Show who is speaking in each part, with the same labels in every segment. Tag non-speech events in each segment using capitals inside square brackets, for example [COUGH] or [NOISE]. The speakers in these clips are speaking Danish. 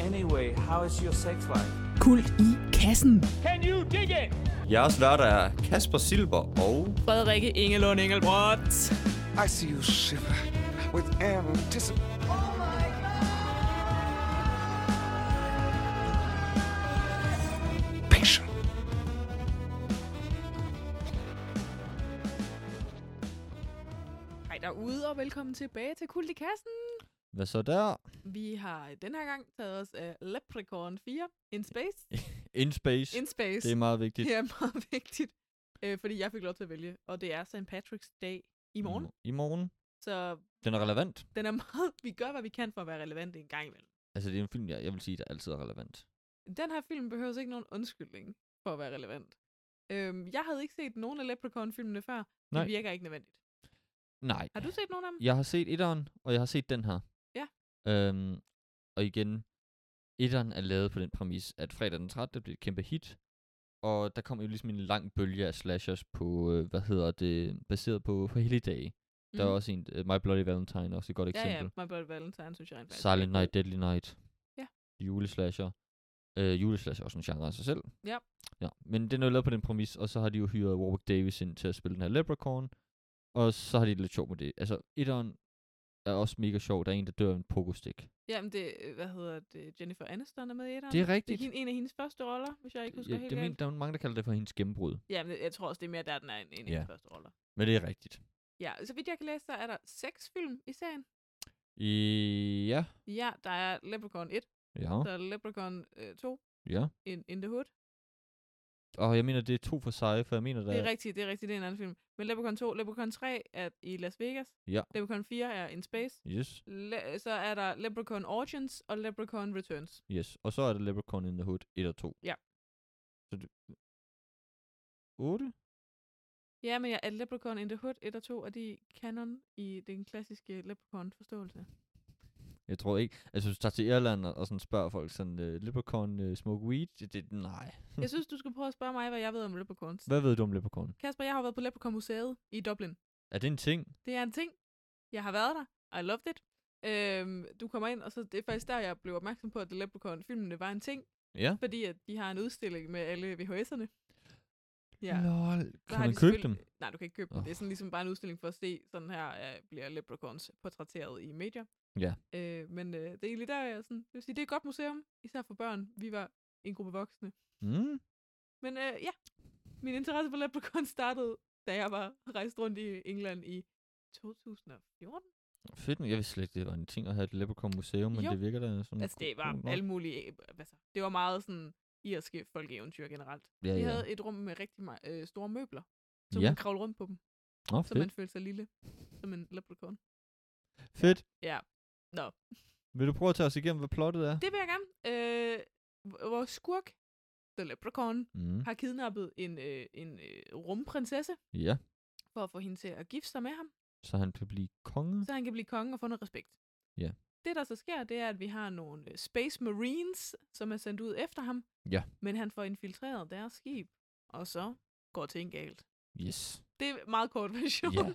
Speaker 1: Anyway, how is your sex life?
Speaker 2: Kult i kassen.
Speaker 3: Can you dig it?
Speaker 4: Jeres værter er Kasper Silber og...
Speaker 2: Frederikke Ingelund Engelbrecht.
Speaker 5: I see you shiver with anticipation.
Speaker 2: Hej derude, og velkommen tilbage til Kult i kassen.
Speaker 4: Hvad så der?
Speaker 2: Vi har den her gang taget os af Leprechaun 4 in space.
Speaker 4: In Space.
Speaker 2: In space.
Speaker 4: Det er meget vigtigt.
Speaker 2: [LAUGHS] det er meget vigtigt, øh, fordi jeg fik lov til at vælge, og det er St. Patrick's Day i morgen. Mm.
Speaker 4: I morgen.
Speaker 2: Så
Speaker 4: Den er relevant.
Speaker 2: den er [LAUGHS] meget, vi gør, hvad vi kan for at være relevant en gang imellem.
Speaker 4: Altså, det er en film, jeg, jeg vil sige, der altid er relevant.
Speaker 2: Den her film behøver ikke nogen undskyldning for at være relevant. Øhm, jeg havde ikke set nogen af Leprechaun-filmene før.
Speaker 4: Nej.
Speaker 2: Det virker ikke nødvendigt.
Speaker 4: Nej.
Speaker 2: Har du set nogen af dem?
Speaker 4: Jeg har set etteren, og jeg har set den her.
Speaker 2: Ja.
Speaker 4: Øhm, og igen, etteren er lavet på den præmis, at fredag den 13. blev et kæmpe hit, og der kom jo ligesom en lang bølge af slashers på, øh, hvad hedder det, baseret på, på helligdage. Mm. Der er
Speaker 2: Mhm.
Speaker 4: også en, uh, My Bloody Valentine er også et godt
Speaker 2: Ja,
Speaker 4: eksempel.
Speaker 2: ja, My Bloody Valentine, synes jeg rent faktisk er
Speaker 4: Silent
Speaker 2: god.
Speaker 4: Night, Deadly Night.
Speaker 2: Ja.
Speaker 4: Juleslasher. Øh, juleslasher er også en genre af sig selv.
Speaker 2: Ja.
Speaker 4: ja. Men den er jo lavet på den præmis, og så har de jo hyret Warwick Davis ind til at spille den her Leprechaun. Og så har de det lidt sjovt med det. Altså, etteren er også mega sjov. Der er en, der dør af en pokostik.
Speaker 2: Jamen, det, øh, hvad hedder det, Jennifer Aniston er med i etteren.
Speaker 4: Det er
Speaker 2: det er
Speaker 4: rigtigt.
Speaker 2: hende, en af hendes første roller, hvis jeg ikke husker
Speaker 4: ja,
Speaker 2: helt
Speaker 4: det
Speaker 2: galt.
Speaker 4: men, der er mange, der kalder det for hendes gennembrud.
Speaker 2: Jamen, jeg tror også, det er mere der, den er en, en af
Speaker 4: Ja.
Speaker 2: hendes første roller.
Speaker 4: Men det er rigtigt.
Speaker 2: Ja, så vidt jeg kan læse, så er der seks film i serien.
Speaker 4: I... Ja.
Speaker 2: Ja, der er Leprechaun 1,
Speaker 4: Ja.
Speaker 2: der er Leprechaun øh, 2,
Speaker 4: Ja.
Speaker 2: in, in the Hood.
Speaker 4: Og jeg mener, det er to for sig, for jeg mener, der
Speaker 2: Det er rigtigt, det er rigtigt, det er en anden film. Men Leprechaun 2, Leprechaun 3 er i Las Vegas.
Speaker 4: Ja.
Speaker 2: Leprechaun 4 er in space.
Speaker 4: Yes.
Speaker 2: Le- så er der Leprechaun Origins og Leprechaun Returns.
Speaker 4: Yes. Og så er der Leprechaun in the Hood 1 og 2.
Speaker 2: Ja.
Speaker 4: Så det... 8?
Speaker 2: Ja, men jeg er Leprechaun in the Hood 1 og 2, og de er canon i den klassiske Leprechaun-forståelse.
Speaker 4: Jeg tror ikke. Altså, hvis du tager til Irland og, og sådan spørger folk sådan, uh, Leprechaun, uh, smoke weed? Det, det, nej.
Speaker 2: Jeg synes, du skal prøve at spørge mig, hvad jeg ved om Leprechauns.
Speaker 4: Mm. Hvad ved du om Leprechaun?
Speaker 2: Kasper, jeg har jo været på Leprechaun-museet i Dublin.
Speaker 4: Er det en ting?
Speaker 2: Det er en ting. Jeg har været der. I loved it. Øhm, du kommer ind, og så det er faktisk der, jeg blev opmærksom på, at The Leprechaun filmene var en ting,
Speaker 4: Ja.
Speaker 2: fordi at de har en udstilling med alle VHS'erne. Ja.
Speaker 4: Lol.
Speaker 2: Så
Speaker 4: Kan
Speaker 2: har
Speaker 4: man
Speaker 2: de
Speaker 4: købe dem?
Speaker 2: selvfølgelig- Nej, du kan ikke købe dem.
Speaker 4: Åh.
Speaker 2: Det er sådan ligesom bare en udstilling for at se, sådan her øh, bliver Leprechauns portrætteret i medier.
Speaker 4: Ja.
Speaker 2: Øh, men øh, det er egentlig der, jeg sådan, det vil sige, det er et godt museum, især for børn. Vi var en gruppe voksne.
Speaker 4: Mm.
Speaker 2: Men øh, ja, min interesse for Leprechaun startede, da jeg var rejst rundt i England i 2014.
Speaker 4: Fedt, men jeg vidste slet ikke, det var en ting at have et Leprechaun-museum, men
Speaker 2: Jo.
Speaker 4: det virker da sådan...
Speaker 2: Altså, det
Speaker 4: go-
Speaker 2: var
Speaker 4: god nok.
Speaker 2: alle mulige... Altså, det var meget sådan irske folkeeventyr generelt.
Speaker 4: Ja,
Speaker 2: Vi
Speaker 4: ja.
Speaker 2: havde et rum med rigtig meget, øh, store møbler, så
Speaker 4: Ja.
Speaker 2: man kravle rundt på dem,
Speaker 4: Nå,
Speaker 2: så
Speaker 4: fedt.
Speaker 2: man følte sig lille, som en leprechaun.
Speaker 4: Fedt.
Speaker 2: Ja. Nå.
Speaker 4: Vil du prøve at tage os igennem, hvad plottet er?
Speaker 2: Det vil jeg gerne. Øh, v- vores skurk, The Leprechaun,
Speaker 4: Mm.
Speaker 2: har kidnappet en, øh, en øh, rumprinsesse
Speaker 4: Ja,
Speaker 2: for at få hende til at gifte sig med ham,
Speaker 4: så han kan blive konge.
Speaker 2: så han kan blive konge og få noget respekt.
Speaker 4: Ja.
Speaker 2: Det, der så sker, det er, at vi har nogle øh, Space Marines, som er sendt ud efter ham.
Speaker 4: Ja.
Speaker 2: Men han får infiltreret deres skib, og så går ting galt. [LAUGHS]
Speaker 4: Yes.
Speaker 2: Det er meget kort version.
Speaker 4: Ja.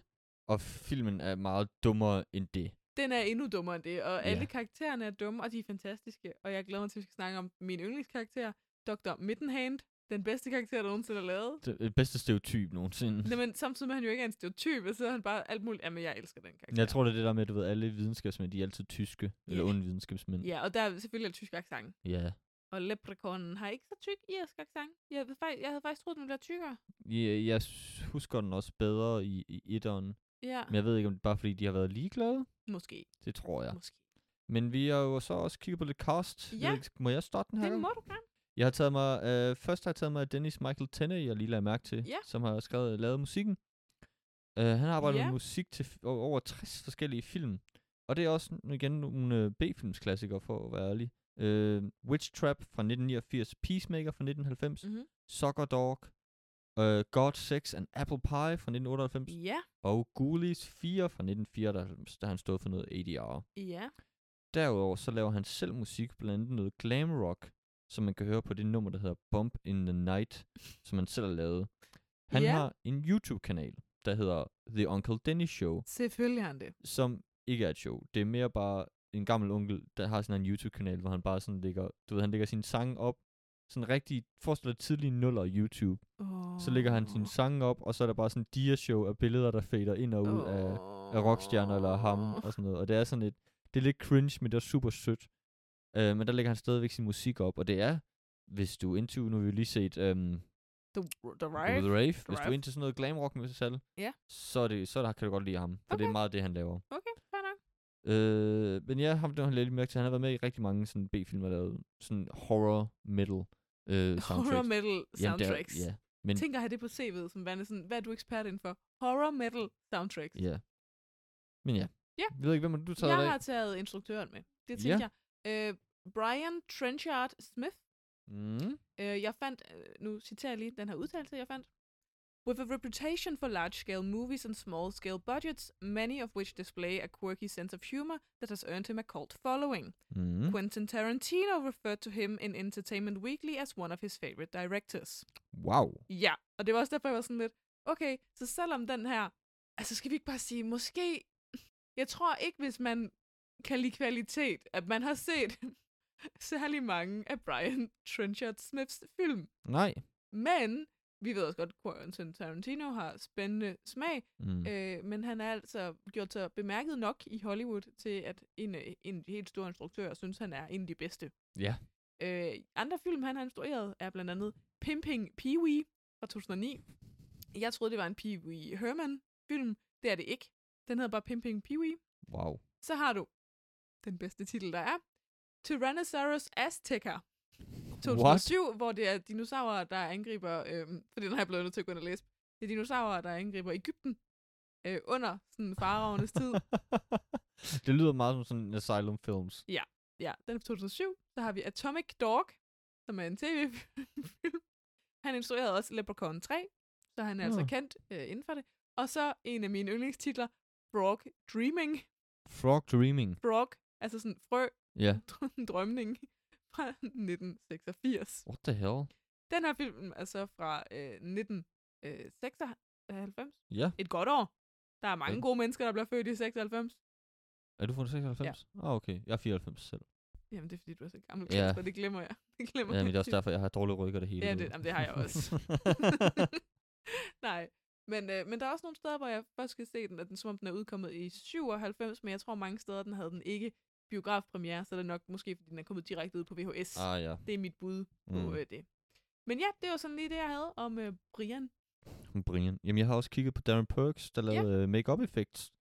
Speaker 4: Og filmen er meget dummere end det.
Speaker 2: [LAUGHS] Den er endnu dummere end det, og
Speaker 4: Ja.
Speaker 2: alle karaktererne er dumme, og de er fantastiske. Og jeg glæder mig til, at vi skal snakke om min yndlingskarakter, Dr. Mittenhand, den bedste karakter, der nogensinde er lavet.
Speaker 4: Det er bedste stereotyp nogensinde.
Speaker 2: Nej, men samtidig med, at han jo ikke er en stereotyp, så er han bare alt muligt. Jamen, jeg elsker den karakter.
Speaker 4: Jeg tror, det er det der med, at du ved, alle videnskabsmænd, de er altid tyske. Eller
Speaker 2: Ja.
Speaker 4: onde videnskabsmænd.
Speaker 2: Ja, og der er selvfølgelig en tysk accent.
Speaker 4: Ja.
Speaker 2: Og leprechaunen har ikke så tyk irsk accent. Jeg, ved fakt- jeg havde faktisk troet, den ville være tykkere.
Speaker 4: Jeg, jeg s- husker den også bedre i, i etteren.
Speaker 2: Ja,
Speaker 4: Men jeg ved ikke, om det er bare fordi, de har været ligeglade.
Speaker 2: måske.
Speaker 4: Det tror jeg.
Speaker 2: måske.
Speaker 4: Men vi har jo så også kigget på lidt cast. Jeg
Speaker 2: Ja.
Speaker 4: ved ikke, må jeg starte den her?
Speaker 2: Det
Speaker 4: gang?
Speaker 2: må du gerne.
Speaker 4: Jeg har taget mig, øh, først har jeg taget mig af Dennis Michael Tenney, jeg lige lagde mærke til,
Speaker 2: Ja.
Speaker 4: som har skrevet, lavet musikken. Uh, han har arbejdet
Speaker 2: Ja.
Speaker 4: med musik til f- o- over 60 forskellige film. Og det er også nu igen nogle øh, B-filmsklassikere, for at være ærlig. Øh, Witch Trap fra 1989, Peacemaker fra 1990,
Speaker 2: Mhm.
Speaker 4: Soccer Dog, øh, God, Sex and Apple Pie fra 1998,
Speaker 2: Ja,
Speaker 4: og Ghoulies 4 fra 1994, der han stod for noget ADR.
Speaker 2: ja.
Speaker 4: Derudover så laver han selv musik, blandt andet noget glam rock, som man kan høre på det nummer, der hedder Bump in the Night, som han selv har lavet. Han
Speaker 2: Ja.
Speaker 4: har en YouTube-kanal, der hedder The Uncle Dennis Show,
Speaker 2: Selvfølgelig har han det.
Speaker 4: som ikke er et show. Det er mere bare en gammel onkel, der har sådan en YouTube-kanal, hvor han bare sådan ligger, du ved, han lægger sine sange op, sådan rigtig, forestil dig tidlige nuller i YouTube.
Speaker 2: Oh.
Speaker 4: Så lægger han sine sange op, og så er der bare sådan en dia-show af billeder, der fader ind og ud oh. af, af rockstjerner eller ham og sådan noget. Og det er sådan et, det er lidt cringe, men det er super sødt. Øh, men der lægger han stadigvæk sin musik op, og det er, hvis du er into, nu har vi jo lige set øhm,
Speaker 2: The, the
Speaker 4: Rave.
Speaker 2: Riot?
Speaker 4: The Rave. Hvis du er
Speaker 2: Rave.
Speaker 4: into sådan noget glam rock metal,
Speaker 2: Ja.
Speaker 4: så, er det, så der, kan du godt lide ham, for okay. det er
Speaker 2: Okay.
Speaker 4: meget det, han laver.
Speaker 2: Okay, fair nok.
Speaker 4: Øh, men ja, ham der har jeg lidt mærke til. Han har været med i rigtig mange sådan B-film, der er lavet sådan horror metal øh, soundtracks.
Speaker 2: Horror metal
Speaker 4: Jamen, det er-
Speaker 2: soundtracks.
Speaker 4: Ja, men
Speaker 2: Tænk at have det på CV'et, som værende sådan, hvad er du ekspert inden for? Horror metal soundtracks.
Speaker 4: ja. Men ja.
Speaker 2: Ja.
Speaker 4: Jeg ved ikke, hvem har du taget
Speaker 2: jeg
Speaker 4: i dag?
Speaker 2: har taget instruktøren med. Det
Speaker 4: Ja.
Speaker 2: tænkte jeg. Øh, Brian Trenchard Smith.
Speaker 4: Mm.
Speaker 2: Øh, jeg fandt, øh, nu citerer jeg lige den her udtalelse, jeg fandt. With a reputation for large-scale movies and small-scale budgets, many of which display a quirky sense of humor that has earned him a cult following.
Speaker 4: Mm.
Speaker 2: Quentin Tarantino referred to him in Entertainment Weekly as one of his favorite directors.
Speaker 4: Wow.
Speaker 2: Ja, og det var også derfor, jeg var sådan lidt, okay, så selvom den her, altså skal vi ikke bare sige, måske, jeg tror ikke, hvis man kan lide kvalitet, at man har set [LAUGHS] særlig mange af Brian Trenchard Smiths film.
Speaker 4: Nej.
Speaker 2: Men vi ved også godt, at Quentin Tarantino har spændende smag,
Speaker 4: Mm. Øh.
Speaker 2: øh, men han er altså gjort sig bemærket nok i Hollywood til, at en, øh, en af de helt store instruktører synes, han er en af de bedste.
Speaker 4: Ja.
Speaker 2: Øh, andre film, han har instrueret, er blandt andet Pimping Pee-wee fra 2009. Jeg troede, det var en Pee-wee Herman-film. Det er det ikke. Den hedder bare Pimping Pee-wee.
Speaker 4: Wow.
Speaker 2: Så har du den bedste titel, der er. Tyrannosaurus Azteca 2007, What? hvor det er dinosaurer, der angriber, øhm, for den har jeg blevet nødt til at gå ind og læse, det er dinosaurer, der angriber Ægypten øh, under sådan faraovernes tid.
Speaker 4: det lyder meget som sådan en Asylum Films.
Speaker 2: Ja, den er fra 2007. Så har vi Atomic Dog, som er en tv-film. Han instruerede også Leprechaun 3, så han er altså
Speaker 4: Nå.
Speaker 2: kendt øh, inden for det. Og så en af mine yndlingstitler, Frog Dreaming.
Speaker 4: Frog Dreaming.
Speaker 2: Frog, altså sådan frø, [LAUGHS]
Speaker 4: Ja.
Speaker 2: drømning fra 1986.
Speaker 4: What the hell?
Speaker 2: Den her film er så fra øh, 1996.
Speaker 4: Ja.
Speaker 2: Et godt år. Der er mange
Speaker 4: Okay.
Speaker 2: gode mennesker, der bliver født i 96.
Speaker 4: Er du fra 96? Ja. Ah, okay. Jeg er 94 selv.
Speaker 2: Jamen, det er fordi, du er så gammel,
Speaker 4: Ja.
Speaker 2: Kasper. Det glemmer jeg. Det glemmer
Speaker 4: Ja, men
Speaker 2: jeg.
Speaker 4: det er også derfor, jeg har dårlige rykker det hele.
Speaker 2: Ja,
Speaker 4: nu.
Speaker 2: det- jamen, det har jeg også. Nej. Men, øh, men der er også nogle steder, hvor jeg først skal se den, at den, som om den er udkommet i 97, men jeg tror mange steder, den havde den ikke biografpremiere, så er det nok måske, fordi den er kommet direkte ud på VHS.
Speaker 4: [LAUGHS] ah, ja.
Speaker 2: Det er mit bud på
Speaker 4: Mm.
Speaker 2: øh, det. Men ja, det var sådan lige det, jeg havde om øh, Brian.
Speaker 4: Brian. Jamen, jeg har også kigget på Darren Perks, der lavede yeah. make-up effects.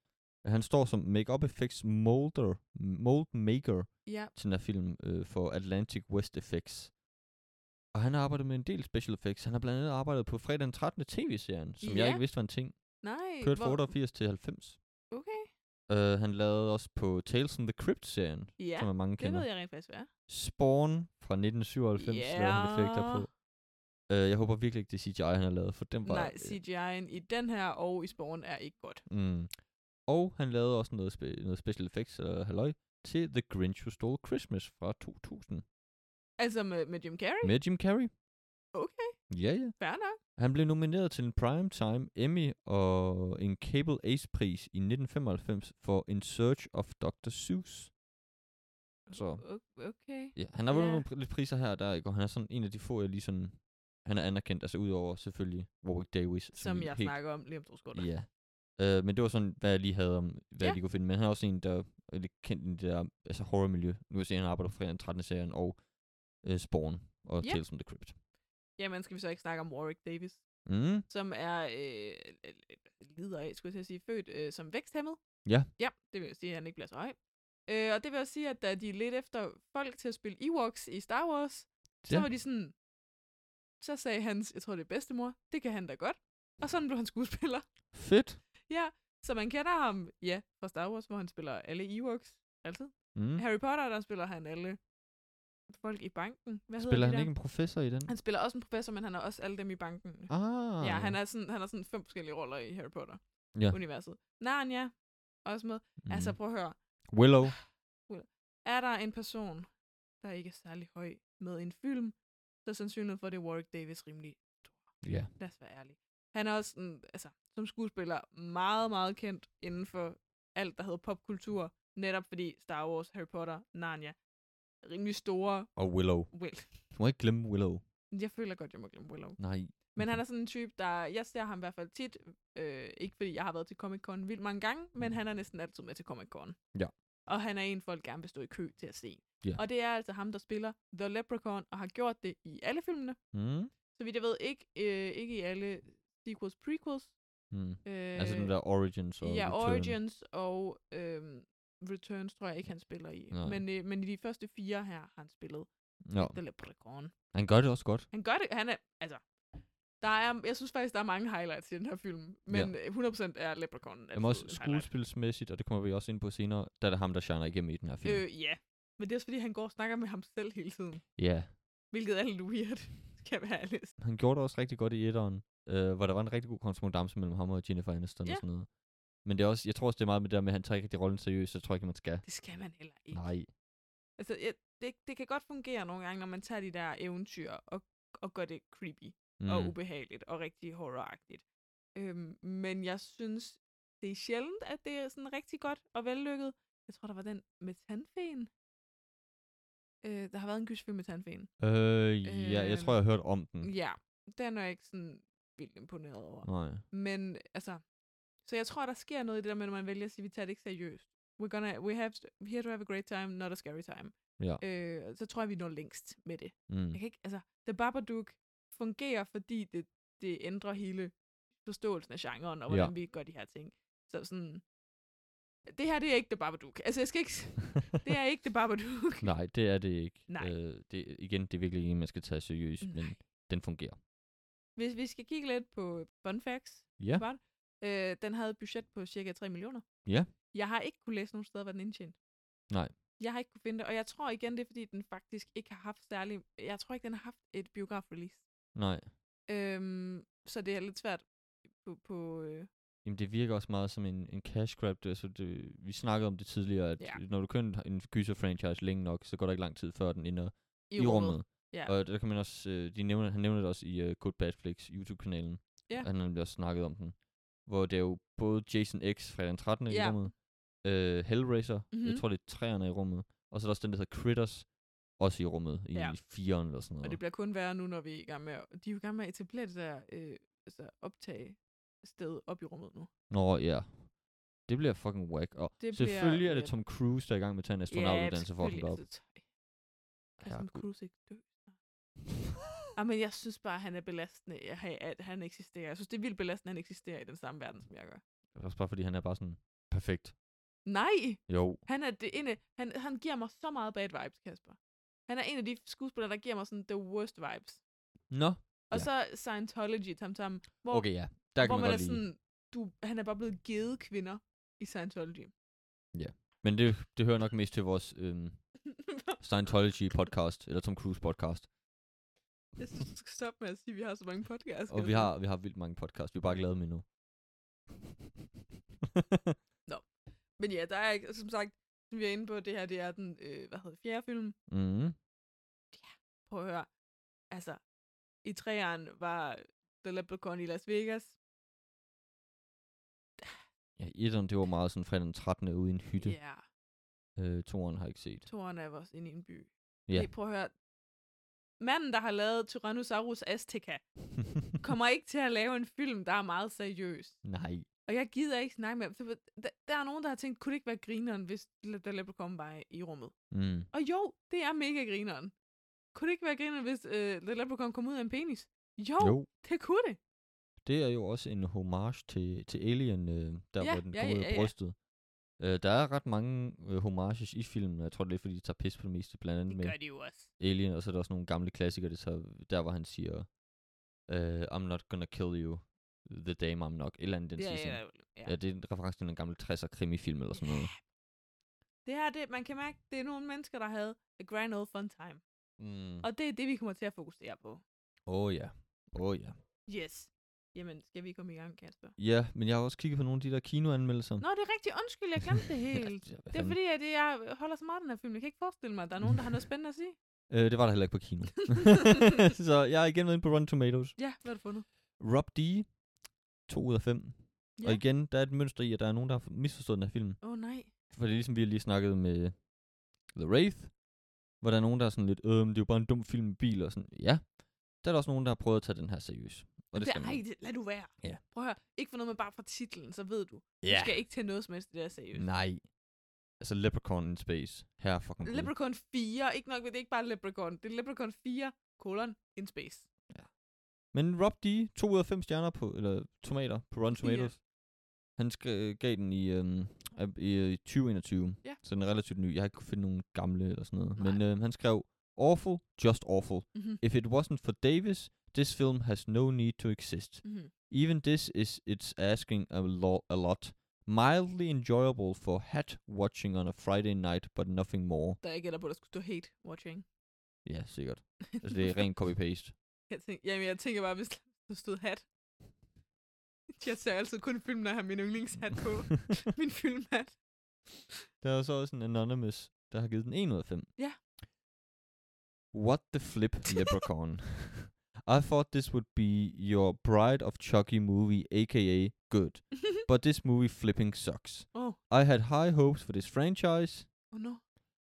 Speaker 4: Han står som make-up effects molder, mold maker
Speaker 2: Ja,
Speaker 4: til den her film øh, for Atlantic West Effects. Og han har arbejdet med en del special effects. Han har blandt andet arbejdet på fredag den 13. tv-serien, som yeah. jeg
Speaker 2: Ja.
Speaker 4: ikke vidste var en ting.
Speaker 2: nej.
Speaker 4: Kørt fra
Speaker 2: hvor-
Speaker 4: 88 til 90.
Speaker 2: Okay.
Speaker 4: Uh, han lavede også på Tales from the Crypt-serien,
Speaker 2: Ja,
Speaker 4: som er mange
Speaker 2: det
Speaker 4: kender.
Speaker 2: ved jeg rent faktisk, hvad er.
Speaker 4: Spawn fra 1997 yeah. lavede han effekter på.
Speaker 2: Ja.
Speaker 4: Uh, jeg håber virkelig ikke, det er CGI, han har lavet, for den var...
Speaker 2: Nej,
Speaker 4: øh,
Speaker 2: CGI'en i den her og i Spawn er ikke godt.
Speaker 4: Mm. Og han lavede også noget, spe- noget special effects eller halløj til The Grinch Who Stole Christmas fra 2000
Speaker 2: Altså med, med Jim Carrey?
Speaker 4: med Jim Carrey.
Speaker 2: Okay,
Speaker 4: Ja, ja.
Speaker 2: fair nok.
Speaker 4: Han blev nomineret til en Primetime Emmy og en Cable Ace-pris i 1995 for In Search of Dr. Seuss. Så
Speaker 2: O- Okay.
Speaker 4: ja, han har vundet
Speaker 2: Ja.
Speaker 4: nogle pr- lidt priser her og der, ikke? og han er sådan en af de få, jeg lige sådan, han er anerkendt, altså udover selvfølgelig Warwick Davis.
Speaker 2: Som
Speaker 4: vi
Speaker 2: jeg
Speaker 4: helt-
Speaker 2: snakker om lige om to sekunder.
Speaker 4: Ja. Øh, men det var sådan, hvad jeg lige havde om, hvad ja.
Speaker 2: Ja.
Speaker 4: jeg lige kunne finde. Men han er også en, der er lidt kendt i det der altså horrormiljø. Nu kan jeg se, at han arbejder fra den 13. serien og øh, Spawn og
Speaker 2: Ja.
Speaker 4: Tales from the Crypt.
Speaker 2: Jamen, skal vi så ikke snakke om Warwick Davis,
Speaker 4: Mm.
Speaker 2: som er øh, øh, øh, lider af, skulle jeg til at sige, født øh, som væksthæmmet.
Speaker 4: Ja.
Speaker 2: Ja, det vil jo sige, at han ikke bliver så høj. Øh, og det vil også sige, at da de lidt efter folk til at spille Ewoks i Star Wars, så
Speaker 4: Ja.
Speaker 2: var de sådan, så sagde hans, jeg tror det er bedstemor, det kan han da godt. Og sådan blev han skuespiller.
Speaker 4: Fedt.
Speaker 2: Ja, så man kender ham, ja, fra Star Wars, hvor han spiller alle Ewoks, altså altid.
Speaker 4: Mm.
Speaker 2: Harry Potter, der spiller han alle folk i banken. Hvad
Speaker 4: Spiller
Speaker 2: hedder de
Speaker 4: han
Speaker 2: der?
Speaker 4: ikke en professor i den?
Speaker 2: Han spiller også en professor, men han er også alle dem i banken.
Speaker 4: Ah.
Speaker 2: Ja, han er sådan, han er sådan fem forskellige roller i Harry
Speaker 4: Ja.
Speaker 2: Potter-universet. Narnia, også med. Mm. Altså, prøv at høre.
Speaker 4: Willow.
Speaker 2: Er der en person, der ikke er særlig høj med en film, så er sandsynligheden for, at det er Warwick Davis rimelig.
Speaker 4: Ja.
Speaker 2: Lad os være ærlige. Han er også sådan, altså, som skuespiller meget, meget kendt inden for alt, der hedder popkultur, netop fordi Star Wars, Harry Potter, Narnia, rimelig store,
Speaker 4: Og Willow.
Speaker 2: well,
Speaker 4: Du må ikke glemme Willow.
Speaker 2: jeg føler godt, jeg må glemme Willow.
Speaker 4: Nej.
Speaker 2: Men
Speaker 4: Mhm.
Speaker 2: han er sådan en type, der... Jeg ser ham i hvert fald tit. Øh, ikke fordi jeg har været til Comic-Con vildt mange gange, men han er næsten altid med til Comic-Con.
Speaker 4: Mhm. Ja.
Speaker 2: Og han er en, folk gerne vil stå i kø til at se.
Speaker 4: Ja.
Speaker 2: Og det er altså ham, der spiller The Leprechaun, og har gjort det i alle filmene.
Speaker 4: Mm.
Speaker 2: Så vidt jeg ved, ikke, øh, ikke i alle sequels, prequels.
Speaker 4: Mm.
Speaker 2: Øh,
Speaker 4: Altså den der Origins og
Speaker 2: Ja,
Speaker 4: Return.
Speaker 2: Origins og øh, Returns tror jeg ikke, han spiller i.
Speaker 4: Nej.
Speaker 2: Men, øh, men i de første fire her har han spillet
Speaker 4: Nå,
Speaker 2: The Leprechaun.
Speaker 4: han gør det også godt.
Speaker 2: Han gør det. Han er, altså, der er, jeg synes faktisk, der er mange highlights i den her film. Men ja. 100% Altså, er Leprechaun.
Speaker 4: Jeg må også
Speaker 2: altid en highlight.
Speaker 4: skuespilsmæssigt, og det kommer vi også ind på senere, der er det ham, der shiner igennem i den her film.
Speaker 2: Øh, ja. Men det er også fordi, han går og snakker med ham selv hele tiden.
Speaker 4: Ja,
Speaker 2: Hvilket er lidt weird, [LAUGHS] kan være ærligt.
Speaker 4: han gjorde det også rigtig godt i etteren, øh, hvor der var en rigtig god korrespondance mellem ham og Jennifer Aniston
Speaker 2: Ja.
Speaker 4: og sådan noget. Men det er også, jeg tror også, det er meget med det der med, at han tager ikke rigtig rollen seriøst, så jeg tror ikke, man skal.
Speaker 2: Det skal man heller ikke.
Speaker 4: Nej.
Speaker 2: Altså, jeg, det, det kan godt fungere nogle gange, når man tager de der eventyr og, og gør det creepy
Speaker 4: Mm.
Speaker 2: og ubehageligt og rigtig horroragtigt. Øhm, men jeg synes, det er sjældent, at det er sådan rigtig godt og vellykket. Jeg tror, der var den med tandfæen. Øh, der har været en gysfilm med tandfæen.
Speaker 4: øh, ja, jeg tror, jeg har hørt om den.
Speaker 2: Mm. Ja, den er jeg ikke sådan vildt imponeret over. Mm.
Speaker 4: Nej.
Speaker 2: Men altså, så jeg tror, der sker noget i det der med, når man vælger at sige, vi tager det ikke seriøst. We're gonna, we have, here to have a great time, not a scary time.
Speaker 4: Ja.
Speaker 2: Øh, så tror jeg, vi når længst med det.
Speaker 4: Mm.
Speaker 2: Jeg kan ikke, altså, The Babadook fungerer, fordi det, det ændrer hele forståelsen af genren,
Speaker 4: Ja.
Speaker 2: og hvordan ja. vi gør de her ting. Så sådan, det her, det er ikke The Babadook. Altså, jeg skal ikke, s- det er ikke The Babadook.
Speaker 4: [LAUGHS] Nej, det er det ikke.
Speaker 2: Nej.
Speaker 4: Øh, det, igen, det er virkelig ikke en, man skal tage seriøst, men
Speaker 2: Nej.
Speaker 4: den fungerer.
Speaker 2: Hvis vi skal kigge lidt på fun facts,
Speaker 4: Ja.
Speaker 2: Var- øh, den havde et budget på cirka 3 millioner.
Speaker 4: Ja.
Speaker 2: Jeg har ikke kunne læse nogen steder, hvad den indtjente.
Speaker 4: Nej.
Speaker 2: Jeg har ikke kunne finde det, og jeg tror igen, det er, fordi den faktisk ikke har haft særlig... Jeg tror ikke, den har haft et biograf-release.
Speaker 4: Nej.
Speaker 2: Øhm, så det er lidt svært på... på øh,
Speaker 4: Jamen, det virker også meget som en, en cash grab. Det, altså, det, vi snakkede om det tidligere, at
Speaker 2: Ja.
Speaker 4: ja. når du kører en- en gyser-franchise længe nok, så går der ikke lang tid, før den ender
Speaker 2: i,
Speaker 4: i rummet.
Speaker 2: Ja.
Speaker 4: Og der kan man også, øh, de nævner, han nævner det også i uh, Good Bad Flix YouTube-kanalen.
Speaker 2: Ja.
Speaker 4: At han nemlig også snakket om den. Hvor det er jo både Jason X fra den 13.
Speaker 2: Ja.
Speaker 4: i rummet, øh, Hellraiser, mm-hmm.
Speaker 2: Mhm.
Speaker 4: jeg tror det er 3'erne i rummet, og så er der også den, der hedder Critters, også i rummet, i
Speaker 2: Ja.
Speaker 4: ja. 4'eren eller sådan noget.
Speaker 2: Og det bliver kun værre nu, når vi er i gang med... at- De er jo i gang med at etablere det der øh, altså optage sted op i rummet nu.
Speaker 4: Nå, ja. Det bliver fucking whack. Og
Speaker 2: Det
Speaker 4: det
Speaker 2: bliver-
Speaker 4: selvfølgelig bliver... er
Speaker 2: ja.
Speaker 4: det Tom Cruise, der er i gang med at tage en astronautuddannelse for at den op.
Speaker 2: selvfølgelig. Altså, tøj. Altså, Kan Tom
Speaker 4: Herregud.
Speaker 2: Cruise ikke dø? Ah, men jeg synes bare, at han er belastende, at han- at han eksisterer. Jeg synes, det er vildt belastende, at han eksisterer i den samme verden, som jeg gør.
Speaker 4: Også bare fordi han er bare sådan, perfekt.
Speaker 2: Nej!
Speaker 4: Jo.
Speaker 2: Han er det ene, han, han giver mig så meget bad vibes, Kasper. Han er en af de skuespillere, der giver mig sådan the worst vibes.
Speaker 4: Nå.
Speaker 2: Og
Speaker 4: Ja.
Speaker 2: så Scientology, Tam Tam, hvor,
Speaker 4: Okay, ja. Der kan
Speaker 2: hvor
Speaker 4: man,
Speaker 2: man
Speaker 4: godt
Speaker 2: er
Speaker 4: lide.
Speaker 2: sådan, du, han er bare blevet givet kvinder i Scientology.
Speaker 4: Men det, det hører nok mest til vores øhm, Scientology-podcast, eller Tom Cruise-podcast.
Speaker 2: [LAUGHS] jeg synes, du skal stoppe med at sige, at vi har så mange podcasts.
Speaker 4: Og vi har, vi har vildt mange podcasts, vi har bare ikke lavet dem [LAUGHS] endnu.
Speaker 2: Men ja, der er ikke, som sagt, som vi er inde på, det her, det er den, øh, hvad hedder det, fjerde film.
Speaker 4: mm.
Speaker 2: Prøv at høre. Altså, i træerne var The Leprechaun i Las Vegas.
Speaker 4: Ja, etteren, det var meget sådan fredag den 13. ude i en hytte.
Speaker 2: Ja, yeah.
Speaker 4: Yeah. Øh, toeren har jeg ikke set.
Speaker 2: toren er også inde i en by.
Speaker 4: Ja.
Speaker 2: Hey, prøv at høre. Manden, der har lavet Tyrannosaurus Azteca, kommer ikke til at lave en film, der er meget seriøs.
Speaker 4: [LAUGHS] Nej.
Speaker 2: Og jeg gider ikke snakke med ham. Så Der, der er nogen, der har tænkt, kunne det ikke være grineren, hvis The Leprechaun var i- i rummet?
Speaker 4: Mm.
Speaker 2: Og jo, det er mega grineren. Kunne det ikke være grineren, hvis øh, The Leprechaun kom ud af en penis? Jo,
Speaker 4: Jo,
Speaker 2: jo, det kunne det.
Speaker 4: det er jo også en homage til, til Alien, øh, der
Speaker 2: Ja,
Speaker 4: hvor den
Speaker 2: ja,
Speaker 4: kommer ud
Speaker 2: ja,
Speaker 4: af
Speaker 2: ja.
Speaker 4: brystet. Øh, der er ret mange øh, homages i filmen, og jeg tror det er lidt, fordi de tager pis på det meste, blandt andet
Speaker 2: Det
Speaker 4: med
Speaker 2: gør de jo også.
Speaker 4: Alien, og så er der også nogle gamle klassikere, det så der hvor han siger, uh, I'm not gonna kill you the day I'm not, et eller andet den
Speaker 2: Ja,
Speaker 4: sidste.
Speaker 2: ja, ja, ja.
Speaker 4: ja, det er en reference til en gammel 60'er krimifilm eller sådan noget.
Speaker 2: Det her, det, man kan mærke, det er nogle mennesker, der havde a grand old fun time.
Speaker 4: Mm.
Speaker 2: Og det er det, vi kommer til at fokusere på.
Speaker 4: Åh ja, åh ja.
Speaker 2: Yes. Jamen, skal vi komme i gang, Kasper?
Speaker 4: Ja, men jeg har også kigget på nogle af de der kinoanmeldelser.
Speaker 2: Nå, det er rigtigt. Undskyld, jeg
Speaker 4: [LAUGHS]
Speaker 2: glemte det helt.
Speaker 4: Ja, hvad
Speaker 2: Det er
Speaker 4: fanden.
Speaker 2: fordi, at jeg holder så meget af den her film. Jeg kan ikke forestille mig, at der er nogen, der har noget spændende at [LAUGHS] sige.
Speaker 4: Øh, det var der heller ikke på
Speaker 2: [LAUGHS]
Speaker 4: kino. [LAUGHS] så jeg har igen været inde på Rotten Tomatoes.
Speaker 2: Ja, hvad har du fundet?
Speaker 4: Rob D. 2 ud af 5. Yeah.
Speaker 2: Ja.
Speaker 4: Og igen, der er et mønster i, at der er nogen, der har misforstået den her film.
Speaker 2: Åh oh, nej.
Speaker 4: For det er ligesom, vi har lige snakket med The Wraith, hvor der er nogen, der er sådan lidt, øh, men det er jo bare en dum film med biler og sådan. Ja, der er der også nogen, der har prøvet at tage den her seriøst. Og det skal
Speaker 2: ej,
Speaker 4: man.
Speaker 2: det, lad du være.
Speaker 4: Ja.
Speaker 2: Prøv at høre. Ikke for noget, men bare fra titlen, så ved du. Du
Speaker 4: Ja, Mm,
Speaker 2: skal ikke tage noget som helst, det der seriøst.
Speaker 4: nej. Altså Leprechaun in Space. Her fucking bud.
Speaker 2: Leprechaun 4. Ikke nok, men det er ikke bare Leprechaun. Det er Leprechaun 4, kolon, in space.
Speaker 4: Men Rob D, 2 ud af 5 stjerner på, eller tomater, på Rotten
Speaker 2: Ja.
Speaker 4: Tomatoes. Han sk- gav den i, øhm, ab- i, øh, i 2021,
Speaker 2: Ja.
Speaker 4: så den er relativt ny. Jeg har ikke kunnet finde nogen gamle eller sådan noget.
Speaker 2: Nej.
Speaker 4: Men øh, han skrev, Awful, just awful.
Speaker 2: Mm-hmm.
Speaker 4: If it wasn't for Davis, this film has no need to exist.
Speaker 2: Mm-hmm.
Speaker 4: Even this is it's asking a, lo- a lot. Mildly enjoyable for hat watching on a Friday night, but nothing more.
Speaker 2: Der er ikke på, at der skulle stå hate watching.
Speaker 4: Ja, sikkert. Altså, det er ren copy-paste.
Speaker 2: [LAUGHS] Jeg tænker, jamen, jeg tænker bare, hvis der stod hat. Jeg ser altid kun film, når jeg har min yndlingshat
Speaker 4: [LAUGHS]
Speaker 2: på. min filmhat.
Speaker 4: Der er så også en Anonymous, der har givet den 1 ud af 5.
Speaker 2: Ja.
Speaker 4: What the flip, Leprechaun. I thought this would be your Bride of Chucky movie, aka good. But this movie flipping sucks.
Speaker 2: oh,
Speaker 4: I had high hopes for this franchise,
Speaker 2: oh no.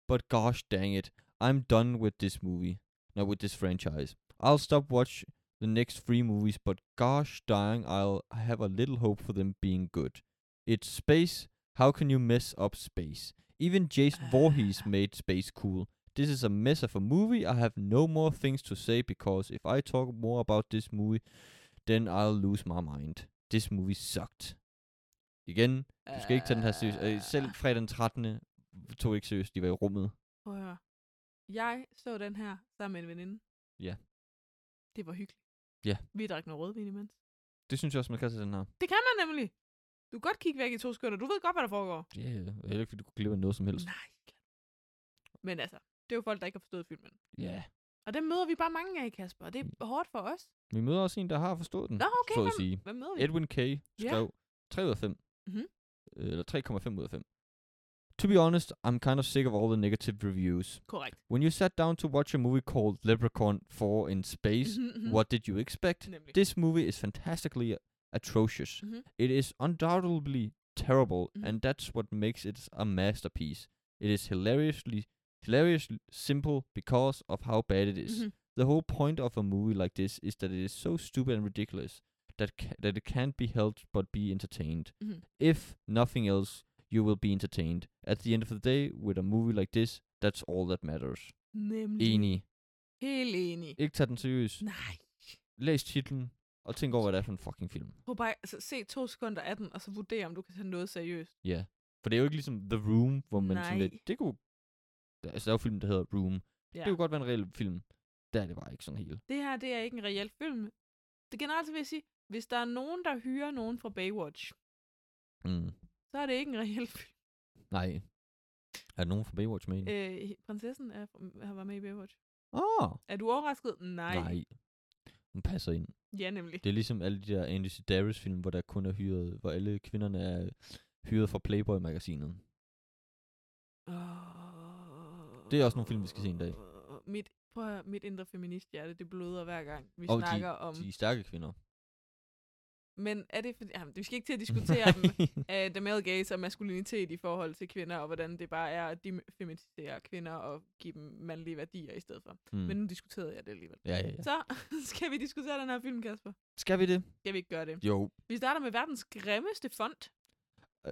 Speaker 4: but gosh dang it, I'm done with this movie. Not with this franchise. I'll stop watch the next three movies, but gosh dang, I'll have a little hope for them being good. It's space. How can you mess up space? Even Jason Voorhees
Speaker 2: Ah.
Speaker 4: made space cool. This is a mess of a movie. I have no more things to say because if I talk more about this movie, then I'll lose my mind. This movie sucked. Again, du skal ikke tage den her seriøst.
Speaker 2: Ah,
Speaker 4: Øh, selv fredag den 13. tog ikke seriøst, de var i rummet.
Speaker 2: Prøv at høre. Jeg så den her sammen med en veninde.
Speaker 4: Ja.
Speaker 2: Det var hyggeligt.
Speaker 4: Ja.
Speaker 2: Vi drak noget rødvin imens.
Speaker 4: Det synes jeg også, man kan tage den her.
Speaker 2: Det kan man nemlig. Du kan godt kigge væk i to sekunder. Du ved godt, hvad der foregår.
Speaker 4: Ja, yeah, heller ikke, fordi du kunne glemme af noget som helst.
Speaker 2: Nej. Men altså, det er jo folk, der ikke har forstået filmen.
Speaker 4: Ja. Yeah.
Speaker 2: Og dem møder vi bare mange af, Kasper. og Det
Speaker 4: Mm.
Speaker 2: er hårdt for os.
Speaker 4: Vi møder også en, der har forstået den,
Speaker 2: Nå, okay.
Speaker 4: så at
Speaker 2: hvem,
Speaker 4: sige.
Speaker 2: hvem møder vi?
Speaker 4: Edwin K. skrev 3 ud af 5.
Speaker 2: Mhm.
Speaker 4: Eller 3,5 ud af 5. To be honest, I'm kind of sick of all the negative reviews.
Speaker 2: Korrekt.
Speaker 4: When you sat down to watch a movie called Leprechaun 4 in Space,
Speaker 2: Mhm, mhm.
Speaker 4: what did you expect?
Speaker 2: Nemlig.
Speaker 4: This movie is fantastically atrocious.
Speaker 2: Mhm.
Speaker 4: It is undoubtedly terrible,
Speaker 2: Mhm.
Speaker 4: and that's what makes it a masterpiece. It is hilariously, hilariously simple because of how bad it is.
Speaker 2: Mhm.
Speaker 4: The whole point of a movie like this is that it is so stupid and ridiculous that ca- that it can't be helped but be entertained.
Speaker 2: Mhm.
Speaker 4: If nothing else, you will be entertained. At the end of the day, with a movie like this, that's all that matters.
Speaker 2: Nemlig.
Speaker 4: Enig.
Speaker 2: Helt enig.
Speaker 4: Ikke tag den seriøst.
Speaker 2: Nej.
Speaker 4: Læs titlen, og tænk over, hvad det er for en fucking film.
Speaker 2: Prøv bare altså, se to sekunder af den, og så vurdere, om du kan tage noget seriøst.
Speaker 4: Ja. For det er jo ikke ligesom The Room, hvor man sådan
Speaker 2: Nej.
Speaker 4: lidt, det kunne... Der, altså, der er jo film, der hedder Room. Ja.
Speaker 2: Ja.
Speaker 4: Det kunne godt være en reel film. Der er det bare ikke sådan helt.
Speaker 2: Det her, det er ikke en reel film. Det generelt så vil jeg sige, hvis der er nogen, der hyrer nogen fra Baywatch,
Speaker 4: Mm.
Speaker 2: så er det ikke en reel film.
Speaker 4: Nej. Er der nogen fra Baywatch med? Øh.
Speaker 2: Øh, prinsessen er, har var med i Baywatch.
Speaker 4: Ah,
Speaker 2: Er du overrasket? Nej.
Speaker 4: nej. Hun passer ind.
Speaker 2: Ja, nemlig.
Speaker 4: Det er ligesom alle de der Andy Sedaris film, hvor der kun er hyret, hvor alle kvinderne er hyret fra Playboy-magasinet.
Speaker 2: Oh.
Speaker 4: Det er også nogle film, vi skal se en dag.
Speaker 2: Mit, prøv at, høre, mit indre feminist hjerte, det bløder hver gang, vi
Speaker 4: Og
Speaker 2: oh, snakker de, om...
Speaker 4: De er stærke kvinder.
Speaker 2: Men er det fordi... Jamen, vi skal ikke til at diskutere dem. Uh, the male gaze og maskulinitet i forhold til kvinder, og hvordan det bare er, at de feminiserer kvinder og giver dem mandlige værdier i stedet for.
Speaker 4: [LAUGHS]
Speaker 2: Mm.
Speaker 4: mm.
Speaker 2: Men nu diskuterede jeg det alligevel.
Speaker 4: Ja, ja, ja.
Speaker 2: Så [LAUGHS] skal vi diskutere den her film, Kasper.
Speaker 4: Skal vi det?
Speaker 2: Skal vi ikke gøre det?
Speaker 4: Jo.
Speaker 2: Vi starter med verdens grimmeste font.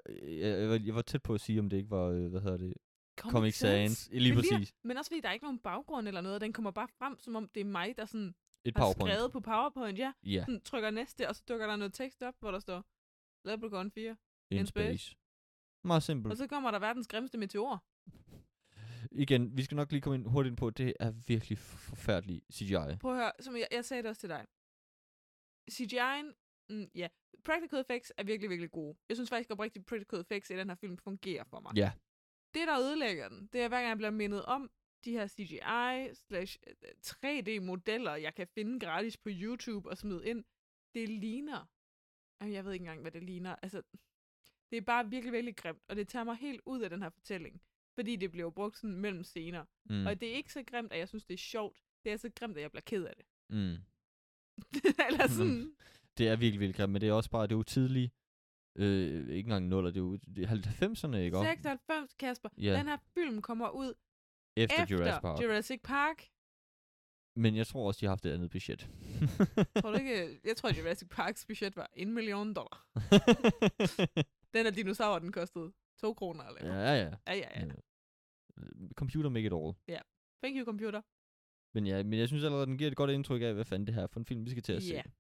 Speaker 4: Øh, Jeg, jeg, var- jeg var tæt på at sige, om det ikke var, øh, hvad hedder det,
Speaker 2: Comic,
Speaker 4: Comic Sans. Lige
Speaker 2: Men
Speaker 4: præcis.
Speaker 2: Men også fordi der er ikke nogen baggrund eller noget, den kommer bare frem, som om det er mig, der sådan
Speaker 4: Et
Speaker 2: har
Speaker 4: PowerPoint.
Speaker 2: skrevet på PowerPoint. Ja,
Speaker 4: Ja,
Speaker 2: sådan, trykker næste, og så dukker der noget tekst op, hvor der står Leprechaun 4.
Speaker 4: in
Speaker 2: In space.
Speaker 4: space. Meget simpelt.
Speaker 2: Og så kommer der verdens grimmeste meteor.
Speaker 4: Igen, vi skal nok lige komme ind hurtigt ind på, at det er virkelig forfærdelig CGI.
Speaker 2: Prøv at høre, som jeg, jeg sagde det også til dig. CGI'en, mm, ja. Practical effects er virkelig, virkelig gode. Jeg synes faktisk oprigtigt, practical effects i den her film fungerer for mig.
Speaker 4: Ja.
Speaker 2: Det, der ødelægger den, det er hver gang, jeg bliver mindet om de her CGI slash 3D-modeller, jeg kan finde gratis på YouTube og smide ind. Det ligner. Jamen, jeg ved ikke engang, hvad det ligner. Altså, det er bare virkelig, virkelig grimt, og det tager mig helt ud af den her fortælling. Fordi det bliver jo brugt sådan mellem scener.
Speaker 4: Mm.
Speaker 2: Mm. Og det er ikke så grimt, at jeg synes, det er sjovt. Det er så grimt, at jeg bliver ked af det. [LAUGHS]
Speaker 4: Mm.
Speaker 2: Eller
Speaker 4: Mm.
Speaker 2: sådan.
Speaker 4: Mhm. Det er virkelig vildt grimt, men det er også bare, det er jo tidlig Øh, ikke engang nuller, det er jo det er 90'erne, ikke? også?
Speaker 2: 96, Kasper.
Speaker 4: Ja,
Speaker 2: Den her film kommer ud
Speaker 4: efter,
Speaker 2: efter,
Speaker 4: efter Jurassic Park.
Speaker 2: Jurassic Park.
Speaker 4: Men jeg tror også, de har haft et andet
Speaker 2: [LAUGHS]
Speaker 4: budget.
Speaker 2: Tror du ikke? Jeg tror, Jurassic Parks budget var en million dollar. Den her dinosaur, den kostede 2 kroner eller noget.
Speaker 4: ja, ja.
Speaker 2: Ja, ja, ja.
Speaker 4: ja. Computer make it all.
Speaker 2: Thank you, computer.
Speaker 4: Men ja, men jeg synes allerede, den giver et godt indtryk af, hvad fanden det her er for en film, vi skal til at
Speaker 2: Ja.
Speaker 4: se.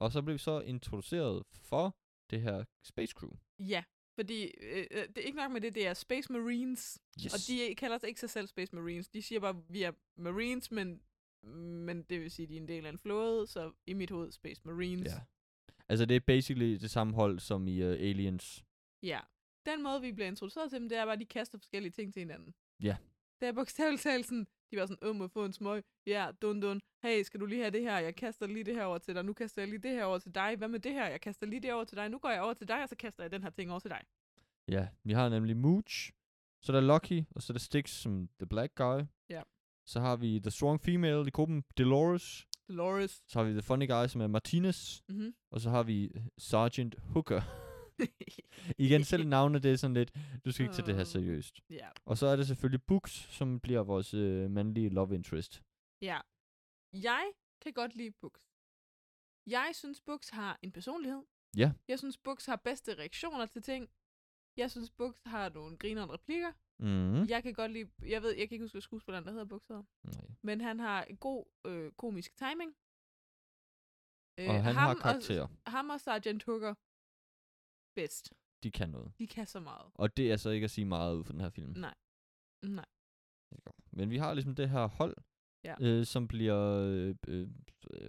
Speaker 4: Og så blev vi så introduceret for det her Space Crew.
Speaker 2: Ja, fordi øh, øh, det er ikke nok med det, det er Space Marines.
Speaker 4: Yes.
Speaker 2: Og de kalder sig ikke sig selv Space Marines. De siger bare, vi er Marines, men, men det vil sige, de er en del af en flåde, så i mit hoved Space Marines.
Speaker 4: Ja. Altså, det er basically det samme hold som i uh, Aliens.
Speaker 2: ja. Den måde, vi bliver introduceret til dem, det er bare, at de kaster forskellige ting til hinanden.
Speaker 4: Ja.
Speaker 2: Det er bogstaveligt talt sådan, de var sådan, øm må jeg få en smøg, ja, dun dun, hey, skal du lige have det her, jeg kaster lige det her over til dig, nu kaster jeg lige det her over til dig, hvad med det her, jeg kaster lige det over til dig, nu går jeg over til dig, og så kaster jeg den her ting over til dig.
Speaker 4: Ja, vi har nemlig Mooch, så er der Lucky, og så er der Stix som The Black Guy.
Speaker 2: Ja.
Speaker 4: Så har vi The Strong Female i gruppen, Dolores.
Speaker 2: Dolores.
Speaker 4: Så har vi The Funny Guy, som er Martinez.
Speaker 2: Mhm. [LAUGHS]
Speaker 4: Og så har vi øh, Sergeant Hooker. Igen, selv navnet, det er sådan lidt, du skal ikke tage det her
Speaker 2: Åh.
Speaker 4: seriøst.
Speaker 2: ja.
Speaker 4: Og så er det selvfølgelig Books, som bliver vores øh, mandlige love interest.
Speaker 2: Ja. Jeg kan godt lide Books. Jeg synes, Books har en personlighed.
Speaker 4: Ja.
Speaker 2: Jeg synes, Books har bedste reaktioner til ting. Jeg synes, Books har nogle grinerende replikker.
Speaker 4: Mm.
Speaker 2: Mm. Jeg kan godt lide... Jeg ved, jeg kan ikke huske, hvad skuespilleren, der hedder Books hedder.
Speaker 4: Nej.
Speaker 2: Men han har en god øh, komisk timing. Øh,
Speaker 4: Og han har
Speaker 2: Og,
Speaker 4: karakterer.
Speaker 2: ham og Sergeant Hooker bedst.
Speaker 4: De kan noget.
Speaker 2: De kan så meget.
Speaker 4: Og det er så ikke at sige meget ud for den her film.
Speaker 2: Nej. Nej.
Speaker 4: Men vi har ligesom det her hold,
Speaker 2: Ja.
Speaker 4: øh, som bliver øh, øh,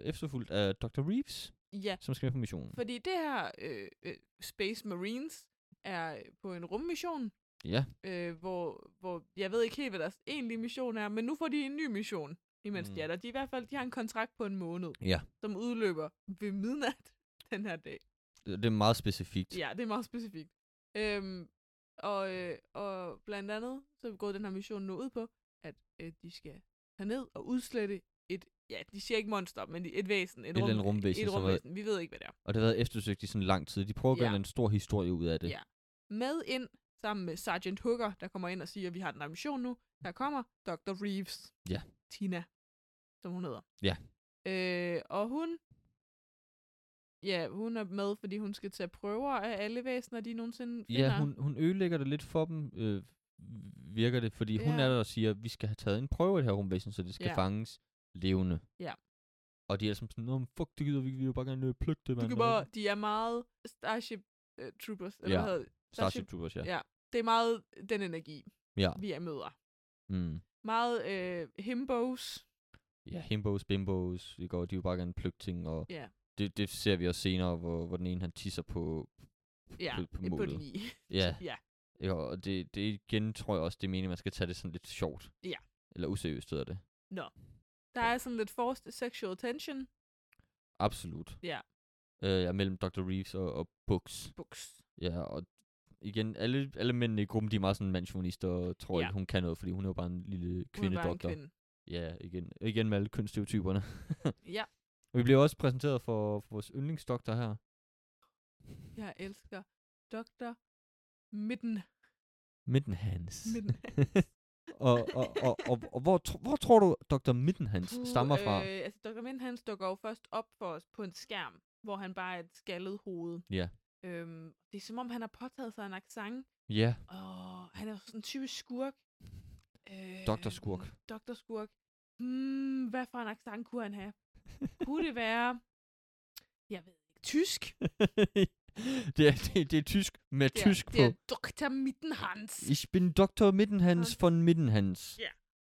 Speaker 4: efterfulgt af Dr. Reeves,
Speaker 2: Ja,
Speaker 4: som skal med på missionen.
Speaker 2: fordi det her øh, øh, Space Marines er øh, på en rummission.
Speaker 4: Ja.
Speaker 2: øh, hvor, hvor jeg ved ikke helt, hvad deres egentlige mission er, men nu får de en ny mission, imens mm.
Speaker 4: Mm.
Speaker 2: de er der. De, er i hvert fald, de har en kontrakt på en måned,
Speaker 4: Ja.
Speaker 2: som udløber ved midnat [LAUGHS] den her dag.
Speaker 4: Det det er meget specifikt.
Speaker 2: Ja, det er meget specifikt. Øhm, og, øh, og blandt andet, så går den her mission nu ud på, at øh, de skal tage ned og udslette et, ja, de siger ikke monster, men et væsen. Et,
Speaker 4: eller andet rumvæsen,
Speaker 2: Et
Speaker 4: som er-
Speaker 2: rumvæsen, vi ved ikke, hvad det er.
Speaker 4: Og det har været eftersøgt i sådan lang tid. De prøver at gøre
Speaker 2: Ja.
Speaker 4: en stor historie ud af det.
Speaker 2: Ja. Med ind, sammen med Sergeant Hooker, der kommer ind og siger, at vi har den her mission nu. Der kommer Dr. Reeves.
Speaker 4: Ja.
Speaker 2: Tina, som hun hedder.
Speaker 4: Ja.
Speaker 2: Øh, og hun... Ja, hun er med, fordi hun skal tage prøver af alle væsener, de nogensinde finder.
Speaker 4: Ja, hun, hun ødelægger det lidt for dem, øh, virker det, fordi ja. hun
Speaker 2: Ja.
Speaker 4: er der og siger, at vi skal have taget en prøve af det her rumvæsen, så det skal
Speaker 2: Ja.
Speaker 4: ja. fanges levende.
Speaker 2: Ja.
Speaker 4: Og de er som sådan, "Nå, men fuck, det gider vi ikke, vi vil bare gerne øh, plukke det, mand.
Speaker 2: Du kan bare, de er meget Starship uh, Troopers, eller
Speaker 4: Ja.
Speaker 2: hvad hedder det?
Speaker 4: Starship Troopers, ja.
Speaker 2: Ja. Det er meget den energi,
Speaker 4: Ja.
Speaker 2: vi er møder.
Speaker 4: Mm.
Speaker 2: Meget øh, himbos.
Speaker 4: Ja, himbos, bimbos, vi går, de vil bare gerne plukke ting, og
Speaker 2: Ja.
Speaker 4: det, det ser vi også senere, hvor, hvor den ene han tisser på,
Speaker 2: Ja,
Speaker 4: På- på
Speaker 2: et
Speaker 4: målet.
Speaker 2: lige.
Speaker 4: ja.
Speaker 2: [LAUGHS] Ja.
Speaker 4: Ikke, og det, det igen, tror jeg også, det er meningen, man skal tage det sådan lidt sjovt.
Speaker 2: Ja.
Speaker 4: Eller useriøst hedder det.
Speaker 2: Der er sådan lidt forced sexual tension.
Speaker 4: Absolut.
Speaker 2: Ja.
Speaker 4: Øh, ja, mellem Dr. Reeves og, og Books.
Speaker 2: Books.
Speaker 4: Ja, og igen, alle, alle mændene i gruppen, de er meget sådan mandsjonister og tror
Speaker 2: Ja.
Speaker 4: ja. ikke, hun kan noget, fordi hun er jo bare en lille
Speaker 2: Hun er bare en
Speaker 4: kvindedoktor.
Speaker 2: kvinde.
Speaker 4: Ja, igen, igen med alle kønsstereotyperne. [LAUGHS]
Speaker 2: Ja,
Speaker 4: og vi bliver også præsenteret for, for vores yndlingsdoktor her.
Speaker 2: jeg elsker Dr. Midden.
Speaker 4: Mittenhans. [LAUGHS]
Speaker 2: Midden.
Speaker 4: og, og, og, og, og hvor, tr- hvor tror du, Dr. Mittenhans
Speaker 2: Puh,
Speaker 4: stammer fra?
Speaker 2: Øh, altså, Dr. Midden, han dukker jo først op for os på en skærm, hvor han bare er et skaldet hoved.
Speaker 4: Ja.
Speaker 2: Øhm, det er som om, han har påtaget sig en accent.
Speaker 4: Ja, [LAUGHS]
Speaker 2: Åh, han er jo sådan en typisk skurk. Øh,
Speaker 4: Dr. Skurk.
Speaker 2: Dr. Skurk. Hmm, hvad for en accent kunne han have? Kunne det være... Jeg ved ikke. Tysk?
Speaker 4: det, er, det, er- det er tysk med
Speaker 2: Det er-
Speaker 4: tysk
Speaker 2: Det er
Speaker 4: på.
Speaker 2: Dr. Mittenhans.
Speaker 4: Ich bin Dr. Mittenhans von Mittenhans.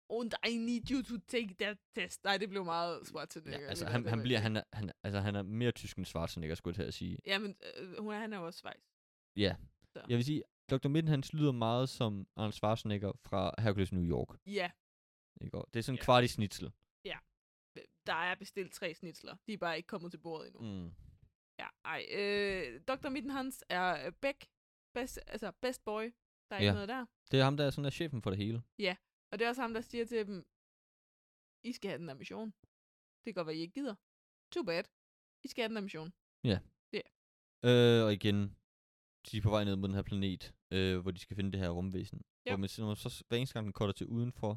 Speaker 2: And I need you to take that test. Nej, det blev meget Schwarzenegger.
Speaker 4: Ja, altså,
Speaker 2: det
Speaker 4: han,
Speaker 2: der,
Speaker 4: han,
Speaker 2: det
Speaker 4: bliver,
Speaker 2: var-
Speaker 4: han, er, han, er- altså, han er mere tysk end Schwarzenegger, skulle jeg til at sige.
Speaker 2: Ja, men øh, hun er, han er jo også Schweiz.
Speaker 4: Ja.
Speaker 2: Så.
Speaker 4: Jeg vil sige, Dr. Mittenhans lyder meget som Arnold Schwarzenegger fra Hercules New York.
Speaker 2: Ja,
Speaker 4: Ikke? Og Det er sådan en
Speaker 2: Ja.
Speaker 4: kvart i snitsel.
Speaker 2: der er bestilt tre snitsler. De er bare ikke kommet til bordet endnu. Mm.
Speaker 4: Mm.
Speaker 2: Ja, ej. Øh, Dr. Mittenhans er øh, Beck. Best, altså, best boy. Der er
Speaker 4: Ja.
Speaker 2: ja. ikke noget der.
Speaker 4: Det er ham, der er sådan er chefen for det hele.
Speaker 2: Og det er også ham, der siger til dem, I skal have den her mission. Det kan godt være, I ikke gider. Too bad. I skal have den her mission.
Speaker 4: Øh, og igen, de er på vej ned mod den her planet, øh, hvor de skal finde det her rumvæsen. Yep. Hvor man, når man så hver eneste gang, den cutter til udenfor,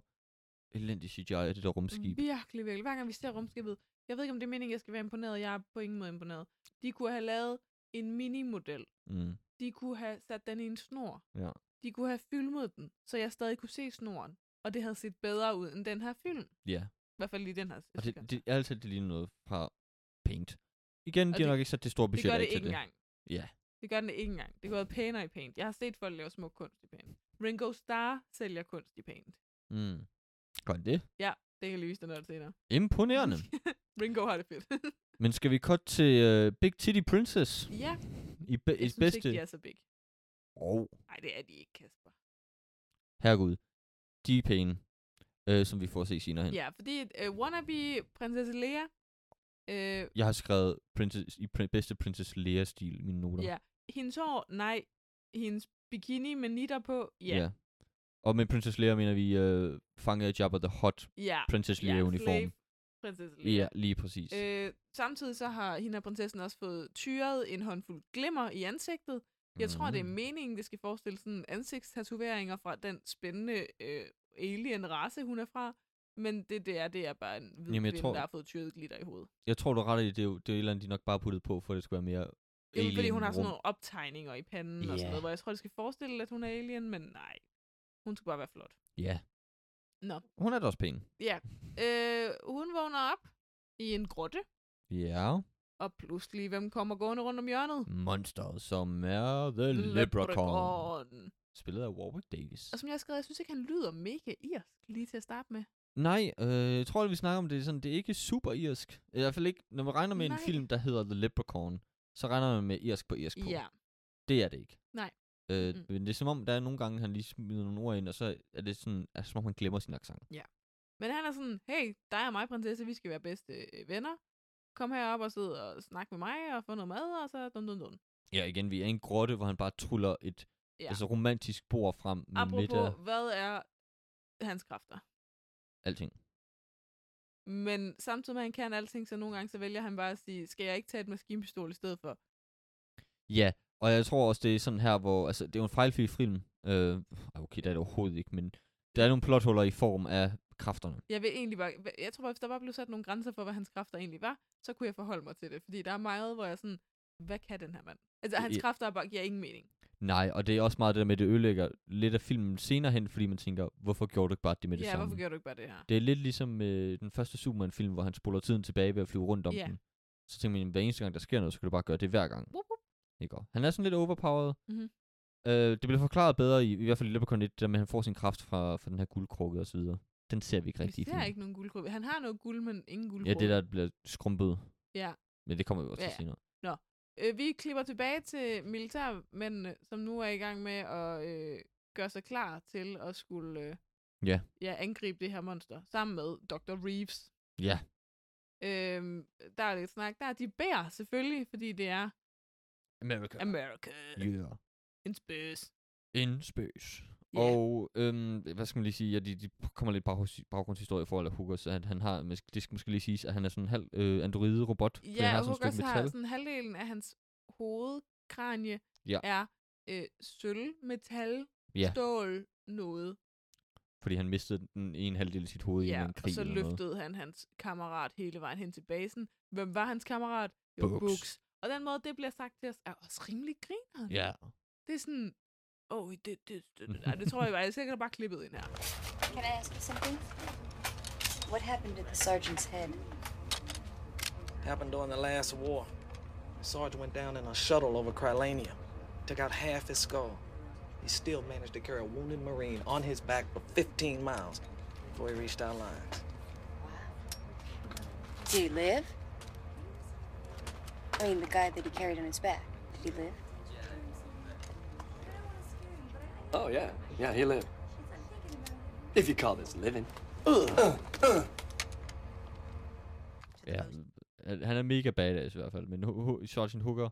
Speaker 4: elendig CGI af
Speaker 2: Mm-hmm.
Speaker 4: det der rumskib.
Speaker 2: Virkelig, virkelig. Hver gang vi ser rumskibet, jeg ved ikke, om det er meningen, jeg skal være imponeret. Jeg er på ingen måde imponeret. De kunne have lavet en minimodel.
Speaker 4: Mm,
Speaker 2: De kunne have sat den i en snor.
Speaker 4: ja.
Speaker 2: De kunne have filmet den, så jeg stadig kunne se snoren. Og det havde set bedre ud end den her film.
Speaker 4: Ja.
Speaker 2: I hvert fald lige den her.
Speaker 4: Og
Speaker 2: sekvens.
Speaker 4: det, det, altid, det ligner noget fra Paint. Igen, de har
Speaker 2: det-
Speaker 4: nok ikke sat det store
Speaker 2: det
Speaker 4: budget
Speaker 2: gør
Speaker 4: af
Speaker 2: det
Speaker 4: til
Speaker 2: ikke engang.
Speaker 4: Ja.
Speaker 2: Det gør den ikke engang. Det går været pænere i paint. Jeg har set folk lave smuk kunst i paint. Ringo Starr sælger kunst i paint.
Speaker 4: Mm. Gør den det?
Speaker 2: Det kan jeg lige vise dig noget senere. [LAUGHS]
Speaker 4: Imponerende.
Speaker 2: Ringo har det fedt.
Speaker 4: Men skal vi cut til uh, Big Titty Princess
Speaker 2: [LAUGHS] ja,
Speaker 4: i, be- i
Speaker 2: jeg synes
Speaker 4: bedste...
Speaker 2: ikke, de er så big.
Speaker 4: oh.
Speaker 2: Nej, det er de ikke, Kasper.
Speaker 4: Herregud. De er pæne, øh, som vi får at se senere hen.
Speaker 2: Ja, fordi uh, wannabe prinsesse Lea, øh,
Speaker 4: Jeg har skrevet princess, i pr- bedste Princess Leia-stil i mine noter.
Speaker 2: ja, hendes hår, nej, hendes bikini med nitter på, ja, ja,
Speaker 4: Og med Princess Leia mener vi øh, fanget Jabba the Hot
Speaker 2: ja,
Speaker 4: Princess
Speaker 2: ja,
Speaker 4: Leia-uniform.
Speaker 2: slave prinsesse Lea.
Speaker 4: Ja, lige præcis. Øh,
Speaker 2: Øh, samtidig så har hende og prinsessen også fået tyret en håndfuld glimmer i ansigtet. Jeg mm.
Speaker 4: Mhm.
Speaker 2: tror, det er meningen, det skal forestille sådan ansigtstatoveringer fra den spændende øh, alien-race, hun er fra. Men det, det er, det er bare en hvid
Speaker 4: Jamen, jeg
Speaker 2: kvinde,
Speaker 4: tror-
Speaker 2: der har fået tyret glitter i hovedet.
Speaker 4: Jeg tror, du er ret i, det er, jo, det er jo et eller andet, de nok bare puttet på, for at det skulle være mere
Speaker 2: Jamen, fordi hun har sådan
Speaker 4: alien-rum.
Speaker 2: nogle optegninger i panden yeah. og
Speaker 4: Ja.
Speaker 2: sådan noget, hvor jeg tror, det skal forestille, at hun er alien, men nej. Hun skulle bare være flot.
Speaker 4: Ja.
Speaker 2: Nå.
Speaker 4: Hun er da også pæn.
Speaker 2: Øh, hun vågner op i en grotte,
Speaker 4: Ja.
Speaker 2: og pludselig, hvem kommer gående rundt om hjørnet?
Speaker 4: Monsteret, som er The Leprechaun.
Speaker 2: Leprechaun. Altså-
Speaker 4: Spillet af Warwick Davis.
Speaker 2: Og som jeg har skrevet, jeg synes ikke, han lyder mega irsk lige til at starte med.
Speaker 4: Nej, øh, jeg tror, at vi snakker om det sådan, det er ikke super irsk. I hvert fald ikke, når man regner med Nej.
Speaker 2: Nej.
Speaker 4: en film, der hedder The Leprechaun, så regner man med irsk på irsk på.
Speaker 2: Ja,
Speaker 4: Det er det ikke.
Speaker 2: Nej.
Speaker 4: Øh,
Speaker 2: Mm.
Speaker 4: Men det er som om, der er nogle gange, han lige smider nogle ord ind, og så er det sådan, er det som om han glemmer sin accent.
Speaker 2: men han er sådan, hey, dig og mig, prinsesse, vi skal være bedste øh, venner. Kom herop og sidde og snakke med mig og få noget mad, og så dun dun dun.
Speaker 4: Ja, igen, vi er i en grotte, hvor han bare truller et
Speaker 2: Ja.
Speaker 4: ja. altså, romantisk bord frem med midt af
Speaker 2: Apropos, hvad er hans kræfter?
Speaker 4: alting.
Speaker 2: Men samtidig med, at han kan alting, så nogle gange så vælger han bare at sige, skal jeg ikke tage et maskinpistol i stedet for?
Speaker 4: Ja, og jeg tror også, det er sådan her, hvor... Altså, det er jo en fejlfri film. Øh, ah, okay, det er det overhovedet ikke, men... Der er nogle plothuller i form af kræfterne.
Speaker 2: Jeg vil egentlig bare, jeg tror bare, hvis der bare blev sat nogle grænser for, hvad hans kræfter egentlig var, så kunne jeg forholde mig til det. Fordi der er meget, hvor jeg er sådan, hvad kan den her mand? Altså, hans
Speaker 4: Ja.
Speaker 2: kræfter er bare, giver ingen mening.
Speaker 4: Nej, og det er også meget det der med, at det ødelægger lidt af filmen senere hen, fordi man tænker, hvorfor gjorde du ikke bare det med det
Speaker 2: Ja,
Speaker 4: samme?
Speaker 2: hvorfor gør du ikke bare det her?
Speaker 4: Det er lidt ligesom øh, den første Superman-film, hvor han spoler tiden tilbage ved at flyve rundt om
Speaker 2: Ja.
Speaker 4: den. Så tænker man, hver eneste gang, der sker noget, så kan du bare gøre det hver gang.
Speaker 2: Wup, wup.
Speaker 4: Ikke? Og Han er sådan lidt overpowered.
Speaker 2: Mhm.
Speaker 4: Øh, det bliver forklaret bedre, i, i hvert fald i Leprechaun 1, det der med, at han får sin kraft fra, fra den her guldkrukke og så videre. Den ser vi ikke rigtig i
Speaker 2: Vi ser
Speaker 4: filmen.
Speaker 2: ikke nogen guldkruppe. Han har noget guld, men ingen
Speaker 4: Ja,
Speaker 2: guldkruppe.
Speaker 4: det der bliver skrumpet.
Speaker 2: Ja.
Speaker 4: Men det kommer vi også til
Speaker 2: Ja.
Speaker 4: senere.
Speaker 2: Øh, vi klipper tilbage til militærmændene, som nu er i gang med at øh, gøre sig klar til at skulle øh,
Speaker 4: Ja.
Speaker 2: ja, angribe det her monster, sammen med Dr. Reeves.
Speaker 4: Ja.
Speaker 2: Øhm, der er lidt snak der. De bærer selvfølgelig, fordi det er
Speaker 4: America.
Speaker 2: America.
Speaker 4: Yeah.
Speaker 2: En spøs.
Speaker 4: In space.
Speaker 2: Ja.
Speaker 4: Og, øhm, hvad skal man lige sige, ja, de, de kommer lidt baggrunds- baggrundshistorie for, eller Huggers, at han har, men det skal måske lige siges, at han er sådan en halv øh, androide-robot, fordi han
Speaker 2: Ja,
Speaker 4: har
Speaker 2: og
Speaker 4: sådan et
Speaker 2: Huggers
Speaker 4: stykke
Speaker 2: har
Speaker 4: metal.
Speaker 2: sådan halvdelen af hans hovedkranje
Speaker 4: Ja.
Speaker 2: er øh, sølv, metal,
Speaker 4: Ja.
Speaker 2: stål, noget.
Speaker 4: Fordi han mistede den ene halvdel af sit hoved i en eller
Speaker 2: Ja,
Speaker 4: anden
Speaker 2: og
Speaker 4: krig
Speaker 2: så
Speaker 4: eller noget.
Speaker 2: løftede han hans kammerat hele vejen hen til basen. Hvem var hans kammerat? Det var
Speaker 4: Buks.
Speaker 2: Buks. Og den måde, det bliver sagt til os, er også rimelig griner.
Speaker 4: Ja.
Speaker 2: Det er sådan, åh, oh, det, det, det,
Speaker 4: [LAUGHS]
Speaker 2: det, ej, det tror jeg bare, jeg sikkert bare klippet ind her.
Speaker 3: Can I ask you something? What happened to the sergeant's head?
Speaker 6: Happened during the last war. The sergeant went down in a shuttle over Krylania, took out half his skull. He still managed to carry a wounded Marine on his back for 15 miles before he reached our lines.
Speaker 3: Did he live? I mean, the guy that he carried on his back. Did he live?
Speaker 7: Oh yeah, yeah, he lived. If you call this living.
Speaker 4: ja. Øh, Han er mega badass i hvert fald, men Hu- Hu- Sergeant Hooker,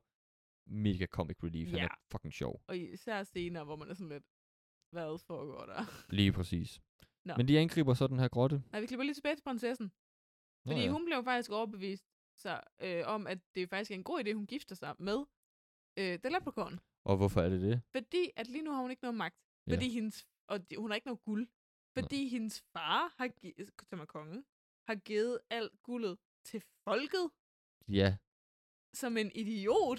Speaker 4: mega comic relief. Han
Speaker 2: Ja.
Speaker 4: er fucking sjov.
Speaker 2: Og især scener, hvor man er sådan lidt, hvad foregår der?
Speaker 4: Lige præcis.
Speaker 2: Nå.
Speaker 4: Men de angriber så den her grotte. Nå,
Speaker 2: Nej, vi klipper lige tilbage til prinsessen. Fordi
Speaker 4: ja.
Speaker 2: hun blev faktisk overbevist så, øh, om, at det faktisk er en god idé, hun gifter sig med øh, The Leprechaun.
Speaker 4: Og hvorfor er det det?
Speaker 2: Fordi at lige nu har hun ikke noget magt.
Speaker 4: Ja.
Speaker 2: Fordi hendes, og de- hun har ikke noget guld. Fordi Nej. hendes far, har, gi- som er kongen, har givet alt guldet til folket
Speaker 4: Ja,
Speaker 2: som en idiot.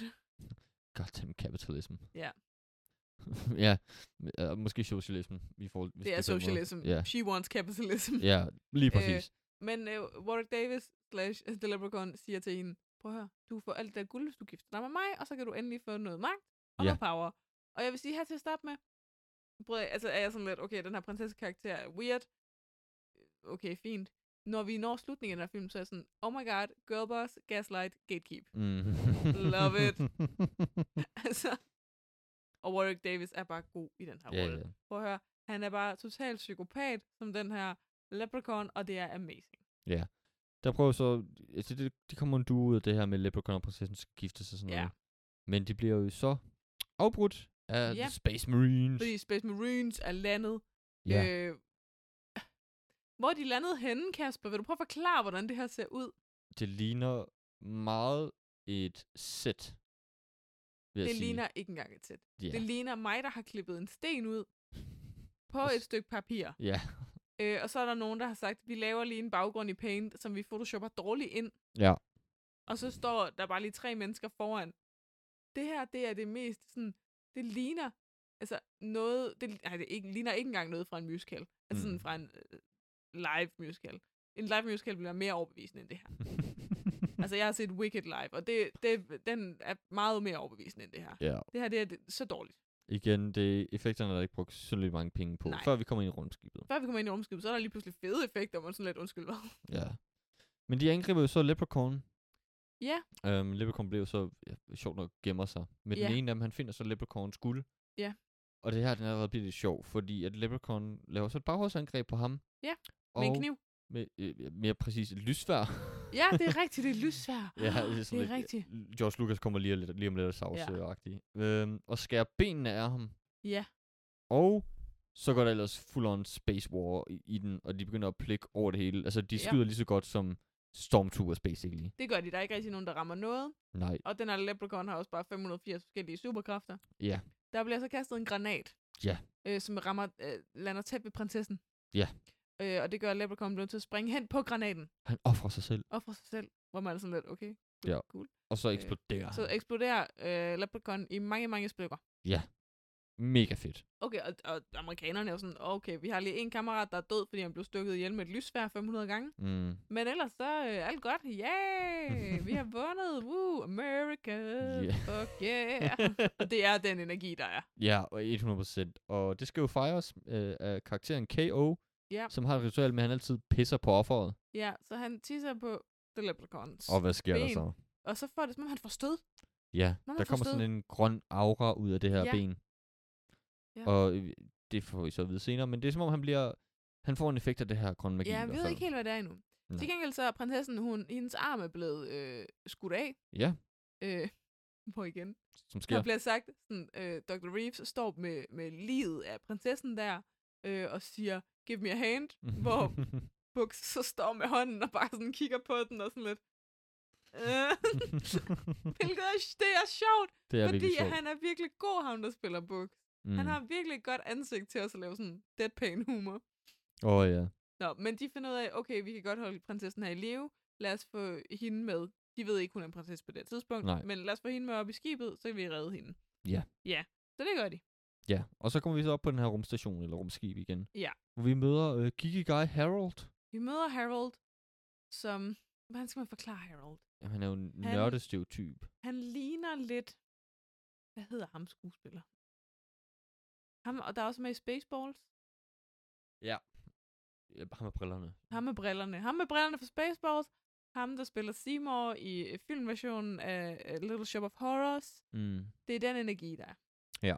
Speaker 4: goddamn capitalism.
Speaker 2: Ja.
Speaker 4: [LAUGHS] ja, øh, måske socialism. I forhold, hvis
Speaker 2: Det er
Speaker 4: på den måde.
Speaker 2: socialism.
Speaker 4: Ja,
Speaker 2: She wants capitalism.
Speaker 4: ja lige præcis.
Speaker 2: Men øh, Warwick Davis slash The Leprechaun siger til hende, prøv at høre, du får alt det der guld, hvis du gifter dig med mig, og så kan du endelig få noget magt og
Speaker 4: Ja.
Speaker 2: noget power. Og jeg vil sige her til at starte med, prøv, at- altså er jeg sådan lidt, okay, den her prinsessekarakter er weird. Øh, Okay, fint. Når vi når slutningen af den her film, så er jeg sådan, oh my god, girlboss, gaslight, gatekeep. [LAUGHS]
Speaker 4: Mm.
Speaker 2: Love it. altså, og Warwick Davis er bare god i den her
Speaker 4: [LAUGHS] ja,
Speaker 2: rolle.
Speaker 4: ja.
Speaker 2: Prøv at høre, han er bare totalt psykopat, som den her leprechaun, og det er amazing.
Speaker 4: Der prøver så... Altså, det, det kommer en duo ud af det her med at Leprechaun og prinsessen skal gifte sig og sådan
Speaker 2: Ja.
Speaker 4: noget. Men de bliver jo så afbrudt af
Speaker 2: Ja.
Speaker 4: ja. Space Marines.
Speaker 2: Fordi Space Marines er landet.
Speaker 4: Ja.
Speaker 2: Øh, hvor er de landet henne, Kasper? Vil du prøve at forklare, hvordan det her ser ud?
Speaker 4: Det ligner meget et sæt. vil jeg
Speaker 2: Det
Speaker 4: sige.
Speaker 2: ligner ikke engang et sæt.
Speaker 4: Ja.
Speaker 2: Det ligner mig, der har klippet en sten ud på et stykke papir.
Speaker 4: [LAUGHS] Ja.
Speaker 2: Øh, og så er der nogen, der har sagt, vi laver lige en baggrund i Paint, som vi photoshopper dårligt ind.
Speaker 4: Ja.
Speaker 2: Og så står der bare lige tre mennesker foran. Det her, det er det mest sådan, det ligner altså noget, det, nej, det ikke, ligner ikke engang noget fra en musical. Altså mm. sådan
Speaker 4: Mm.
Speaker 2: fra en øh, live musical. En live musical bliver mere overbevisende end det her. [LAUGHS] Altså jeg har set Wicked live, og det, det, den er meget mere overbevisende end det her.
Speaker 4: ja.
Speaker 2: Det her, det er det, så dårligt.
Speaker 4: Igen, det er effekterne, der er ikke brugt synderligt mange penge på,
Speaker 2: Nej.
Speaker 4: Nej. før vi kommer ind i rumskibet.
Speaker 2: Før vi kommer ind i rumskibet, så er der lige pludselig fede effekter, og man er sådan lidt undskyld. hvad?
Speaker 4: Ja. Men de angriber jo så Leprechaun.
Speaker 2: Ja.
Speaker 4: Øhm, Leprechaun blev jo så, ja, sjovt nok, gemmer sig. Men
Speaker 2: Ja.
Speaker 4: den ene af dem, han finder så Leprechauns guld.
Speaker 2: Ja.
Speaker 4: Og det her, den er allerede blevet lidt sjov, fordi at Leprechaun laver så et bagholdsangreb på ham.
Speaker 2: Ja,
Speaker 4: Og
Speaker 2: Med en kniv.
Speaker 4: Med, øh, mere præcis et lysvær.
Speaker 2: Ja,
Speaker 4: [LAUGHS]
Speaker 2: det er rigtigt, det er lysvær.
Speaker 4: Ja,
Speaker 2: Ah,
Speaker 4: det er, sådan
Speaker 2: det er
Speaker 4: lidt, øh,
Speaker 2: rigtigt.
Speaker 4: George Lucas kommer lige, lidt, lige om lidt og savse ja. øhm, Og skærer benene af ham.
Speaker 2: Ja.
Speaker 4: Og så går der ellers full on space war i, i den, og de begynder at plikke over det hele. Altså, de
Speaker 2: Ja.
Speaker 4: skyder lige så godt som Stormtroopers, basically.
Speaker 2: Det gør de. Der er ikke rigtig nogen, der rammer noget.
Speaker 4: Nej,
Speaker 2: Og den her leprechaun har også bare 580 forskellige superkræfter.
Speaker 4: ja,
Speaker 2: Der bliver så kastet en granat.
Speaker 4: Ja.
Speaker 2: Øh, som rammer, øh, lander tæt ved prinsessen.
Speaker 4: Ja.
Speaker 2: Øh, og det gør, at leprechaun bliver nødt til at springe hen på granaten.
Speaker 4: han offrer sig selv,
Speaker 2: Og for sig selv. Hvor man er sådan lidt, okay, cool.
Speaker 4: Ja.
Speaker 2: cool.
Speaker 4: og så
Speaker 2: Øh,
Speaker 4: eksploderer øh,
Speaker 2: Så eksploderer øh, leprechaun i mange, mange stykker.
Speaker 4: Mega fedt.
Speaker 2: Okay, og, og amerikanerne er jo sådan, okay, vi har lige en kammerat, der er død, fordi han blev stukket ihjel med et lysvær 500 gange.
Speaker 4: Mm.
Speaker 2: Men ellers så øh, alt godt. Yay!
Speaker 4: [LAUGHS]
Speaker 2: Vi har vundet. Woo! America!
Speaker 4: Ja.
Speaker 2: Fuck yeah! Og det er den energi, der er.
Speaker 4: [LAUGHS] ja, og 100%. Og det skal jo fejres øh, af karakteren K.O.,
Speaker 2: Ja.
Speaker 4: som har et ritual med, at han altid pisser på offeret.
Speaker 2: Ja, så han tisser på The Leprechauns.
Speaker 4: Og hvad sker
Speaker 2: der
Speaker 4: der
Speaker 2: ben. så?
Speaker 4: så?
Speaker 2: Og så får det, som om han får stød.
Speaker 4: Ja,
Speaker 2: Nå,
Speaker 4: der kommer
Speaker 2: forstået.
Speaker 4: sådan en grøn aura ud af det her
Speaker 2: Ja.
Speaker 4: ja. ben.
Speaker 2: Ja.
Speaker 4: Og øh, det får vi så at vide senere, men det er som om, han bliver... Han får en effekt af det her grønne magi.
Speaker 2: Ja,
Speaker 4: i
Speaker 2: vi
Speaker 4: hvert
Speaker 2: ved
Speaker 4: fald.
Speaker 2: ikke helt, hvad det er endnu.
Speaker 4: Nej.
Speaker 2: Til gengæld så er prinsessen, hun, hendes arm er blevet øh, skudt af.
Speaker 4: Ja,
Speaker 2: Øh, [LAUGHS] på igen.
Speaker 4: som
Speaker 2: Der
Speaker 4: sker. [LAUGHS]
Speaker 2: bliver sagt, sådan, øh, Dr. Reeves står med, med livet af prinsessen der, øh, og siger, give me a hand, hvor Buks så står med hånden og bare sådan kigger på den og sådan lidt, øh, [LAUGHS] hvilket er, det er sjovt,
Speaker 4: [LAUGHS] det er
Speaker 2: fordi
Speaker 4: virkelig
Speaker 2: at
Speaker 4: sjovt.
Speaker 2: han er virkelig god, ham der spiller Buks.
Speaker 4: Mm.
Speaker 2: Mm. Han har virkelig et godt ansigt til også at lave sådan deadpan humor.
Speaker 4: Åh oh, ja.
Speaker 2: Nå, men de finder ud af, okay, vi kan godt holde prinsessen her i live, lad os få hende med. De ved ikke, hun er en prinsesse på det tidspunkt,
Speaker 4: Nej.
Speaker 2: men lad os få hende med op i skibet, så kan vi redde hende.
Speaker 4: Ja.
Speaker 2: Ja, så det gør de.
Speaker 4: Ja, og så kommer vi så op på den her rumstation, eller rumskib igen.
Speaker 2: Ja.
Speaker 4: Hvor vi møder øh, Geeky Guy Harold.
Speaker 2: Vi møder Harold, som... Hvordan skal man forklare Harold?
Speaker 4: Jamen, han er jo en
Speaker 2: Han-
Speaker 4: nørdestereotyp.
Speaker 2: Han ligner lidt... Hvad hedder ham skuespiller? Ham, og der er også med i Spaceballs.
Speaker 4: Ja, ham med brillerne.
Speaker 2: Ham med brillerne. Ham med brillerne fra Spaceballs. Ham, der spiller Seymour i øh, filmversionen af øh, Little Shop of Horrors.
Speaker 4: Mm.
Speaker 2: Det er den energi, der er.
Speaker 4: Ja.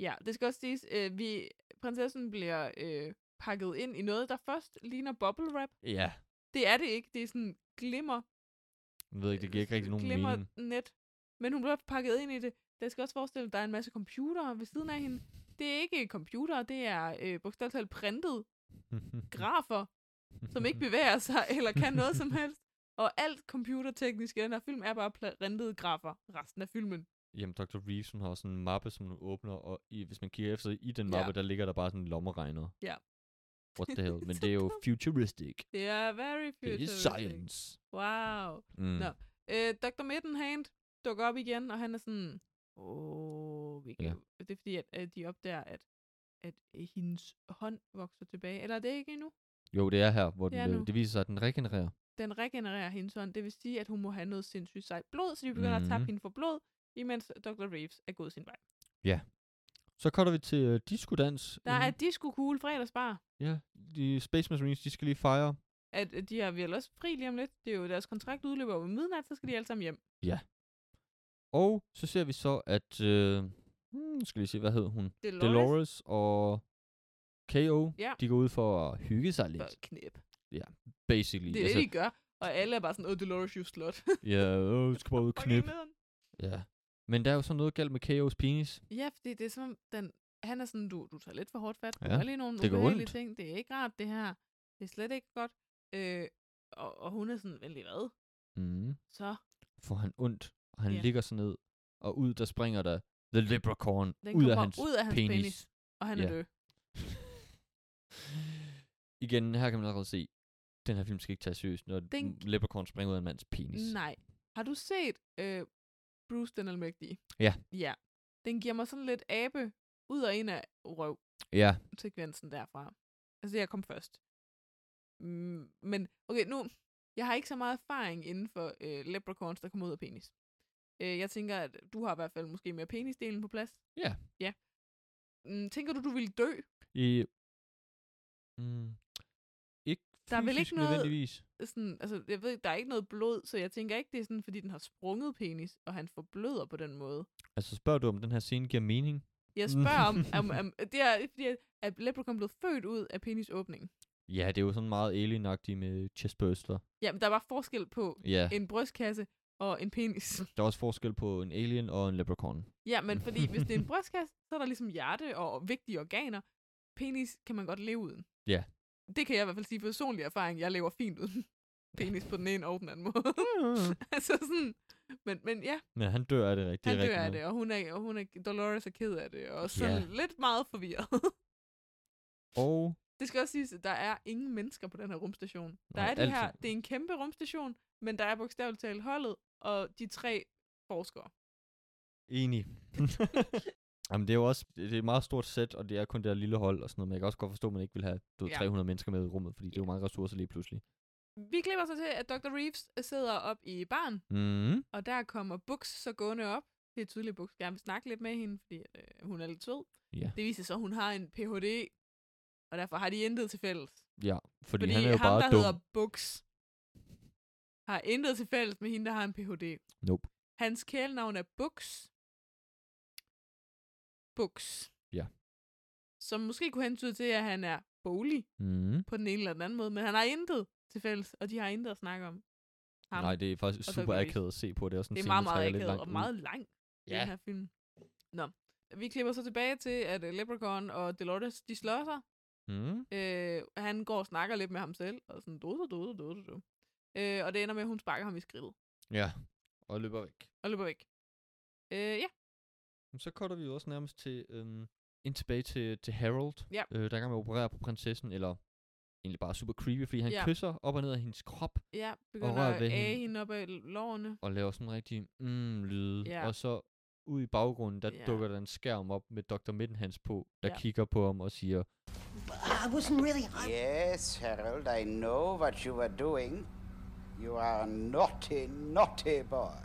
Speaker 2: Ja, det skal også siges, øh, vi, prinsessen bliver øh, pakket ind i noget, der først ligner bubble wrap.
Speaker 4: Ja.
Speaker 2: Det er det ikke. Det er sådan glimmer
Speaker 4: Jeg ved ikke, det giver ikke rigtig nogen
Speaker 2: glimmer
Speaker 4: mening.
Speaker 2: net. Men hun bliver pakket ind i det. Der skal også forestille, at der er en masse computere ved siden af hende. Det
Speaker 4: [LAUGHS]
Speaker 2: er ikke computere, det er øh, bogstaveligt talt printet grafer, som
Speaker 4: Mhm.
Speaker 2: ikke bevæger sig [LAUGHS] eller kan noget
Speaker 4: [LAUGHS]
Speaker 2: som helst. Og alt computerteknisk i den her film er bare pla- printede grafer resten af filmen.
Speaker 4: Jamen, Dr. Reeves, hun har også sådan en mappe, som hun åbner, og i, hvis man kigger efter i den mappe,
Speaker 2: Ja.
Speaker 4: der ligger der bare sådan en lommeregner.
Speaker 2: Ja.
Speaker 4: What the
Speaker 2: [LAUGHS]
Speaker 4: hell? Men
Speaker 2: Så
Speaker 4: det er jo
Speaker 2: dumt.
Speaker 4: futuristic.
Speaker 2: Det er very
Speaker 4: Det er
Speaker 2: futuristic.
Speaker 4: science.
Speaker 2: Wow.
Speaker 4: Mm.
Speaker 2: Nå. Øh, Dr. Mittenhand dukker op igen, og han er sådan, åh, vi kan...
Speaker 4: Ja.
Speaker 2: det er fordi, at, at de opdager, at, at øh, hendes hånd vokser tilbage. Eller er det ikke endnu?
Speaker 4: Jo, det er her, hvor
Speaker 2: Det er
Speaker 4: den,
Speaker 2: nu.
Speaker 4: øh, det viser sig, at den regenererer.
Speaker 2: Den regenererer hendes hånd, det vil sige, at hun må have noget sindssygt sejt blod, så de begynder mm. at
Speaker 4: Mhm.
Speaker 2: tappe hende for blod, imens Dr. Reeves er gået sin vej.
Speaker 4: Så cutter vi til uh, diskodans.
Speaker 2: Der er
Speaker 4: inden-
Speaker 2: disco cool fredagsbar.
Speaker 4: Ja, de Space Marines, de skal lige fejre.
Speaker 2: At at de har vel også fri lige om lidt. Det er jo deres kontrakt udløber ved midnat, så skal de alle sammen hjem.
Speaker 4: Og så ser vi så, at... Øh, hmm, skal lige se, hvad hed hun?
Speaker 2: Dolores.
Speaker 4: Dolores og KO,
Speaker 2: Ja.
Speaker 4: de går ud for at hygge sig
Speaker 2: Bare
Speaker 4: lidt,
Speaker 2: knæp.
Speaker 4: basically.
Speaker 2: Det er
Speaker 4: altså-
Speaker 2: det, de gør. Og alle er bare sådan, åh, Dolores, you slut. [LAUGHS]
Speaker 4: Ja, øh, vi skal bare ud og
Speaker 2: Fucking
Speaker 4: knip.
Speaker 2: nederen.
Speaker 4: Ja. Men der er jo sådan noget galt med KO's penis.
Speaker 2: Ja, fordi det er som om, den, han er sådan, du, du tager lidt for hårdt fat, du
Speaker 4: Ja,
Speaker 2: gør lige nogle
Speaker 4: det gør
Speaker 2: ubehagelige
Speaker 4: ondt.
Speaker 2: ting, det er ikke rart det her, det er slet ikke godt. Øh, og, og hun er sådan, vældig hvad?
Speaker 4: Mm.
Speaker 2: Så
Speaker 4: Får han ondt, og han
Speaker 2: Ja.
Speaker 4: yeah. ligger sig ned, og ud der springer der The Leprechaun
Speaker 2: den
Speaker 4: ud
Speaker 2: kommer
Speaker 4: af hans
Speaker 2: ud af hans penis,
Speaker 4: penis.
Speaker 2: og han er
Speaker 4: Ja.
Speaker 2: død.
Speaker 4: [LAUGHS] Igen, her kan man allerede se, den her film skal ikke tage seriøst, når
Speaker 2: Den-
Speaker 4: den... Leprechaun springer ud af en mands penis.
Speaker 2: Nej. Har du set øh, Bruce den Almægtige?
Speaker 4: Ja.
Speaker 2: Ja. Den giver mig sådan lidt abe ud og ind af røv
Speaker 4: Ja,
Speaker 2: sekvensen derfra. Altså, jeg kom først. Mm, men, okay, nu, jeg har ikke så meget erfaring inden for øh, leprechauns, der kommer ud af penis. Øh, jeg tænker, at du har i hvert fald måske mere penisdelen på plads.
Speaker 4: Ja.
Speaker 2: Ja. Mm, tænker du, du ville dø?
Speaker 4: i... Mm. Ikke
Speaker 2: Der er vel
Speaker 4: fysisk
Speaker 2: ikke noget-
Speaker 4: nødvendigvis.
Speaker 2: Sådan, altså, jeg ved, der er ikke noget blod, så jeg tænker ikke, det er sådan, fordi den har sprunget penis, og han forbløder på den måde.
Speaker 4: Altså spørger du, om den her scene giver mening?
Speaker 2: Jeg
Speaker 4: Mm.
Speaker 2: spørger om,
Speaker 4: [LAUGHS]
Speaker 2: om, om det er fordi, at- at Leprechaun blev født ud af penisåbningen.
Speaker 4: Ja, det er jo sådan meget alienagtigt med chestburster.
Speaker 2: Jamen, der var forskel på
Speaker 4: Ja,
Speaker 2: en brystkasse og en penis. [LAUGHS]
Speaker 4: der er også forskel på en alien og en leprechaun.
Speaker 2: Ja, men fordi hvis det
Speaker 4: [LAUGHS]
Speaker 2: er en brystkasse, så er der ligesom hjerte og vigtige organer. Penis kan man godt leve uden.
Speaker 4: Ja.
Speaker 2: Det kan jeg i hvert fald sige personlig erfaring. Jeg lever fint uden penis på den ene og den anden måde. [LAUGHS] altså sådan, men, men ja,
Speaker 4: Men han dør af det rigtigt.
Speaker 2: han
Speaker 4: rigtigt
Speaker 2: dør af
Speaker 4: nok.
Speaker 2: det, og hun er, og hun er, Dolores er ked af det, og sådan
Speaker 4: Ja.
Speaker 2: lidt meget forvirret.
Speaker 4: Og
Speaker 2: Det skal også siges, at der er ingen mennesker på den her rumstation. Der
Speaker 4: Nej,
Speaker 2: er det
Speaker 4: alt-
Speaker 2: her, det er en kæmpe rumstation, men der er bogstaveligt talt holdet, og de tre forskere.
Speaker 4: enig. [LAUGHS] Jamen, det er jo også det er et meget stort sæt, og det er kun det der lille hold og sådan noget. Men jeg kan også godt forstå, at man ikke vil have du ved,
Speaker 2: Ja.
Speaker 4: 300 mennesker med i rummet, fordi det er jo mange ressourcer lige pludselig.
Speaker 2: Vi klipper så til, at Dr. Reeves sidder op i barn,
Speaker 4: Mm.
Speaker 2: og der kommer Bux så gående op. Det er tydeligt, at Bux gerne vil snakke lidt med hende, fordi at, øh, hun er lidt sød.
Speaker 4: Ja.
Speaker 2: Det viser så, at hun har en Ph.D., og derfor har de intet til fælles.
Speaker 4: ja, fordi,
Speaker 2: fordi
Speaker 4: han er jo
Speaker 2: ham,
Speaker 4: bare
Speaker 2: der
Speaker 4: dum.
Speaker 2: hedder Bux, har intet til fælles med hende, der har en Ph.D.
Speaker 4: Nope.
Speaker 2: Hans kælenavn er Bux. Bux.
Speaker 4: Ja.
Speaker 2: Som måske kunne hentyde til, at han er bolig
Speaker 4: Mm.
Speaker 2: på den ene eller den anden måde, men han har intet til fælles, og de har intet at snakke om. Ham.
Speaker 4: Nej, det er faktisk
Speaker 2: og
Speaker 4: super
Speaker 2: Dr. Reeves.
Speaker 4: akavet at se på. Det er, også en
Speaker 2: det er
Speaker 4: scene,
Speaker 2: meget,
Speaker 4: der
Speaker 2: meget
Speaker 4: trækker lidt
Speaker 2: akavet
Speaker 4: langt
Speaker 2: og
Speaker 4: ud.
Speaker 2: meget lang, ja.
Speaker 4: Ja.
Speaker 2: den her film. Nå. Vi klipper så tilbage til, at øh, Leprechaun og Dolores, de slår sig.
Speaker 4: Mm.
Speaker 2: Øh, han går og snakker lidt med ham selv, og sådan, dodo, dodo, dodo, dodo. Øh, og det ender med, at hun sparker ham i skridtet,
Speaker 4: Ja, og løber væk.
Speaker 2: og løber væk. Øh, ja,
Speaker 4: Men Så cutter vi jo også nærmest til, øhm, ind tilbage til, til Harold,
Speaker 2: Ja.
Speaker 4: øh, der er i gang med at operere på prinsessen, eller egentlig bare super creepy, fordi han
Speaker 2: Ja.
Speaker 4: kysser op og ned af hendes krop,
Speaker 2: ja, begynder
Speaker 4: rører
Speaker 2: at
Speaker 4: ved
Speaker 2: æge
Speaker 4: hende.
Speaker 2: hende op ad lårene.
Speaker 4: og laver sådan en rigtig mm-lyde,
Speaker 2: Ja.
Speaker 4: og så ud i baggrunden, der
Speaker 2: Ja.
Speaker 4: dukker der en skærm op med Dr. Mittenhands på, der
Speaker 2: Ja.
Speaker 4: kigger på ham og siger,
Speaker 8: I wasn't really. I,
Speaker 9: Yes, Harold, I know what you were doing. You are a naughty, naughty boy.